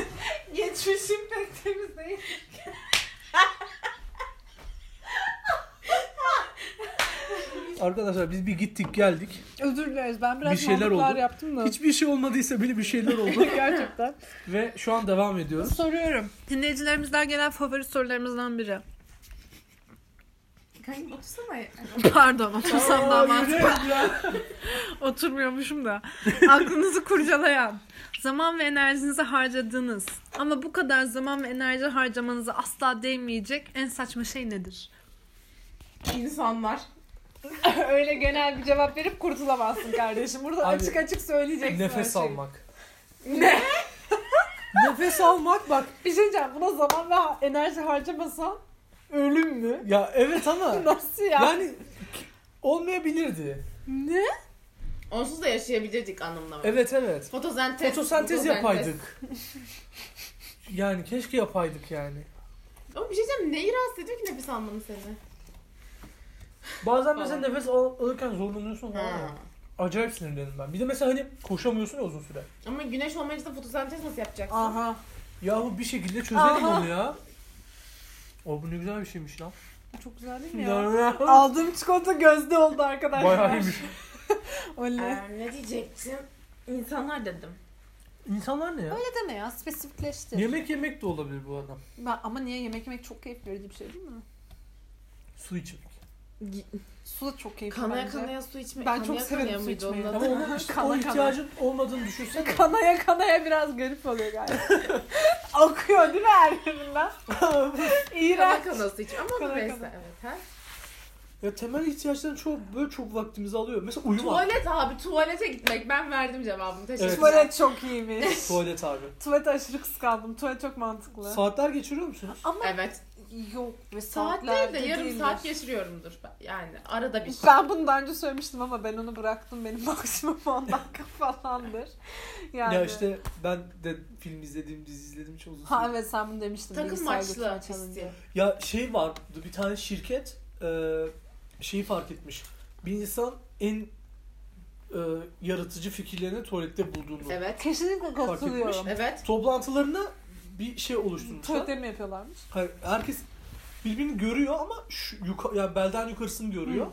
[SPEAKER 2] [laughs] Geçmişim pek temiz değil.
[SPEAKER 1] Arkadaşlar biz bir gittik geldik.
[SPEAKER 2] Özür dileriz ben biraz
[SPEAKER 1] Bir şeyler
[SPEAKER 2] mantıklar
[SPEAKER 1] oldu.
[SPEAKER 2] yaptım da.
[SPEAKER 1] Hiçbir şey olmadıysa bile bir şeyler oldu.
[SPEAKER 2] [laughs] Gerçekten.
[SPEAKER 1] Ve şu an devam ediyoruz.
[SPEAKER 2] Soruyorum. Dinleyicilerimizden gelen favori sorularımızdan biri.
[SPEAKER 3] Kankim otursana.
[SPEAKER 2] Pardon otursam daha mantıklı. [laughs]
[SPEAKER 1] mantıklı.
[SPEAKER 2] Oturmuyormuşum da. Aklınızı kurcalayan, zaman ve enerjinizi harcadığınız ama bu kadar zaman ve enerji harcamanıza asla değmeyecek en saçma şey nedir?
[SPEAKER 3] İnsanlar.
[SPEAKER 2] [laughs] Öyle genel bir cevap verip kurtulamazsın kardeşim. Burada
[SPEAKER 1] Abi,
[SPEAKER 2] açık açık söyleyeceksin. her
[SPEAKER 1] Nefes
[SPEAKER 2] şeyi.
[SPEAKER 1] almak.
[SPEAKER 2] şey.
[SPEAKER 1] Ne? [laughs] Nefes almak bak.
[SPEAKER 2] Bir şey diyeceğim. Buna zaman ve enerji harcamasan
[SPEAKER 1] Ölüm mü? Ya evet ama
[SPEAKER 2] [laughs] Nasıl ya?
[SPEAKER 1] yani olmayabilirdi.
[SPEAKER 2] Ne?
[SPEAKER 3] Onsuz da yaşayabilirdik anlamına. var.
[SPEAKER 1] Evet evet.
[SPEAKER 3] Fotosentez.
[SPEAKER 1] Fotosentez yapaydık. yani keşke yapaydık yani.
[SPEAKER 3] Ama bir şey diyeceğim. Neyi rahatsız ediyor ki nefes almanın seni?
[SPEAKER 1] Bazen mesela
[SPEAKER 3] Falan.
[SPEAKER 1] nefes al- alırken zorlanıyorsun falan. ya.
[SPEAKER 3] Ha.
[SPEAKER 1] Acayip sinirlendim ben. Bir de mesela hani koşamıyorsun ya uzun süre.
[SPEAKER 3] Ama güneş olmayınca da fotosentez nasıl yapacaksın?
[SPEAKER 2] Aha.
[SPEAKER 1] Yahu bir şekilde çözelim
[SPEAKER 2] Aha.
[SPEAKER 1] onu ya. O bu ne güzel bir şeymiş lan.
[SPEAKER 2] Çok güzel değil mi ya?
[SPEAKER 1] Ya.
[SPEAKER 2] Aldığım çikolata gözde oldu arkadaşlar.
[SPEAKER 1] Bayağı iyiymiş.
[SPEAKER 2] Oley.
[SPEAKER 3] Ee, ne diyecektim? İnsanlar dedim.
[SPEAKER 1] İnsanlar ne ya?
[SPEAKER 4] Ne deme ya spesifikleştir.
[SPEAKER 1] Yemek yemek de olabilir bu adam.
[SPEAKER 4] Ben, ama niye yemek yemek çok keyif verici bir şey değil mi?
[SPEAKER 1] Su içmek.
[SPEAKER 4] Su da çok keyifli
[SPEAKER 3] Kanaya
[SPEAKER 4] bence.
[SPEAKER 3] kanaya su içmek.
[SPEAKER 2] Ben çok
[SPEAKER 3] kanaya
[SPEAKER 2] severim
[SPEAKER 3] kanaya
[SPEAKER 2] su
[SPEAKER 3] mıydı
[SPEAKER 2] içmeyi.
[SPEAKER 3] onun
[SPEAKER 1] Ama
[SPEAKER 3] adı? [laughs]
[SPEAKER 1] onun işte
[SPEAKER 2] Kana
[SPEAKER 1] o
[SPEAKER 2] kana.
[SPEAKER 1] ihtiyacın olmadığını düşünsene.
[SPEAKER 2] Kanaya kanaya biraz garip oluyor galiba. [laughs] Akıyor değil mi her
[SPEAKER 3] [laughs]
[SPEAKER 2] yerinden?
[SPEAKER 3] Kana
[SPEAKER 2] İğrenç.
[SPEAKER 3] kana su içmek. Ama
[SPEAKER 2] Kana
[SPEAKER 3] neyse
[SPEAKER 2] kana.
[SPEAKER 3] evet. Ha?
[SPEAKER 1] Ya temel ihtiyaçların çok böyle çok vaktimizi alıyor. Mesela uyumak.
[SPEAKER 3] Tuvalet abi tuvalete gitmek. Ben verdim cevabını. Teşekkür
[SPEAKER 1] Evet.
[SPEAKER 3] ederim.
[SPEAKER 2] Tuvalet çok iyiymiş.
[SPEAKER 1] Tuvalet abi.
[SPEAKER 2] Tuvalete aşırı kıskandım. Tuvalet çok mantıklı.
[SPEAKER 1] Saatler geçiriyor musunuz?
[SPEAKER 3] Evet.
[SPEAKER 2] Yok ve
[SPEAKER 3] Saat değil de
[SPEAKER 2] saatlerde
[SPEAKER 3] yarım
[SPEAKER 2] değildir.
[SPEAKER 3] saat geçiriyorumdur. ben. Yani arada bir şey.
[SPEAKER 2] Ben bunu daha önce söylemiştim ama ben onu bıraktım. Benim maksimum 10 dakika [laughs] falandır. Yani.
[SPEAKER 1] Ya işte ben de film izlediğim, dizi izlediğim çok uzun süre.
[SPEAKER 2] Ha evet sen bunu demiştin.
[SPEAKER 3] Takım
[SPEAKER 2] bilgisayar
[SPEAKER 3] maçlı
[SPEAKER 2] götürme challenge'ı.
[SPEAKER 3] istiyor.
[SPEAKER 1] Ya şey vardı bir tane şirket e, şeyi fark etmiş. Bir insan en e, yaratıcı fikirlerini tuvalette bulduğunu.
[SPEAKER 3] Evet.
[SPEAKER 2] Kesinlikle katılıyorum.
[SPEAKER 1] etmiş.
[SPEAKER 3] Evet.
[SPEAKER 1] Toplantılarına bir şey oluşturmuşlar.
[SPEAKER 2] Tuvalette mi yapıyorlarmış?
[SPEAKER 1] Hayır, herkes birbirini görüyor ama şu yuka- yani belden yukarısını görüyor.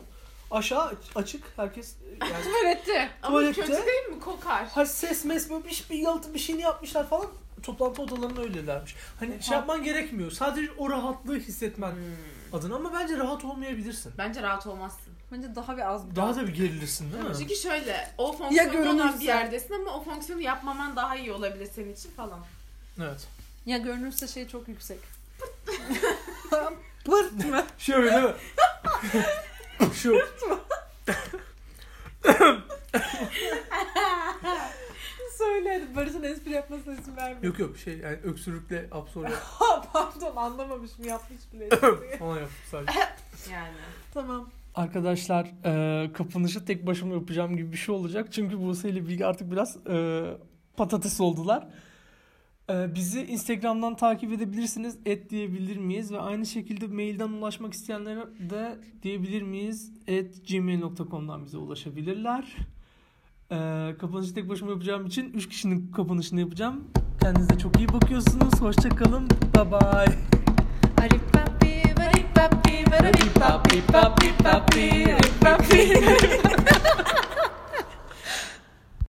[SPEAKER 1] Aşağı açık herkes yani
[SPEAKER 2] Tuvalette.
[SPEAKER 3] Ama
[SPEAKER 1] Tuvalette-
[SPEAKER 3] kötü değil mi? Kokar.
[SPEAKER 1] Her ses mes böyle bir, bir yalıtı bir şeyini yapmışlar falan. Toplantı odalarına öylelermiş. Hani şey yapman gerekmiyor. Sadece o rahatlığı hissetmen
[SPEAKER 3] Hmm.
[SPEAKER 1] adına ama bence rahat olmayabilirsin.
[SPEAKER 3] Bence rahat olmazsın.
[SPEAKER 2] Bence daha bir az.
[SPEAKER 1] Daha da bir gerilirsin değil mi?
[SPEAKER 3] Çünkü şöyle o fonksiyonda olan
[SPEAKER 2] görünürsen.
[SPEAKER 3] bir yerdesin ama o fonksiyonu yapmaman daha iyi olabilir senin için falan.
[SPEAKER 1] Evet.
[SPEAKER 2] Ya görünürse şey çok yüksek. Pırt [laughs] mı?
[SPEAKER 1] Şöyle değil mi? Şu.
[SPEAKER 2] Söyle hadi Barış'ın espri yapmasına izin vermiyor.
[SPEAKER 1] Yok yok şey yani öksürükle absorbe
[SPEAKER 2] Ha, Pardon anlamamışım yapmış bile. espriyi.
[SPEAKER 1] falan yaptım sadece.
[SPEAKER 3] Yani.
[SPEAKER 2] tamam.
[SPEAKER 1] Arkadaşlar e, kapanışı tek başıma yapacağım gibi bir şey olacak. Çünkü Buse ile Bilge artık biraz e, patates oldular. E, bizi Instagram'dan takip edebilirsiniz. Et diyebilir miyiz? Ve aynı şekilde mailden ulaşmak isteyenlere de diyebilir miyiz? Et gmail.com'dan bize ulaşabilirler. E, kapanışı tek başıma yapacağım için 3 kişinin kapanışını yapacağım. Kendinize çok iyi bakıyorsunuz. Hoşçakalın. Bye bye.
[SPEAKER 2] Aripapi, varipapi, varipapi, papi, papi, aripapi.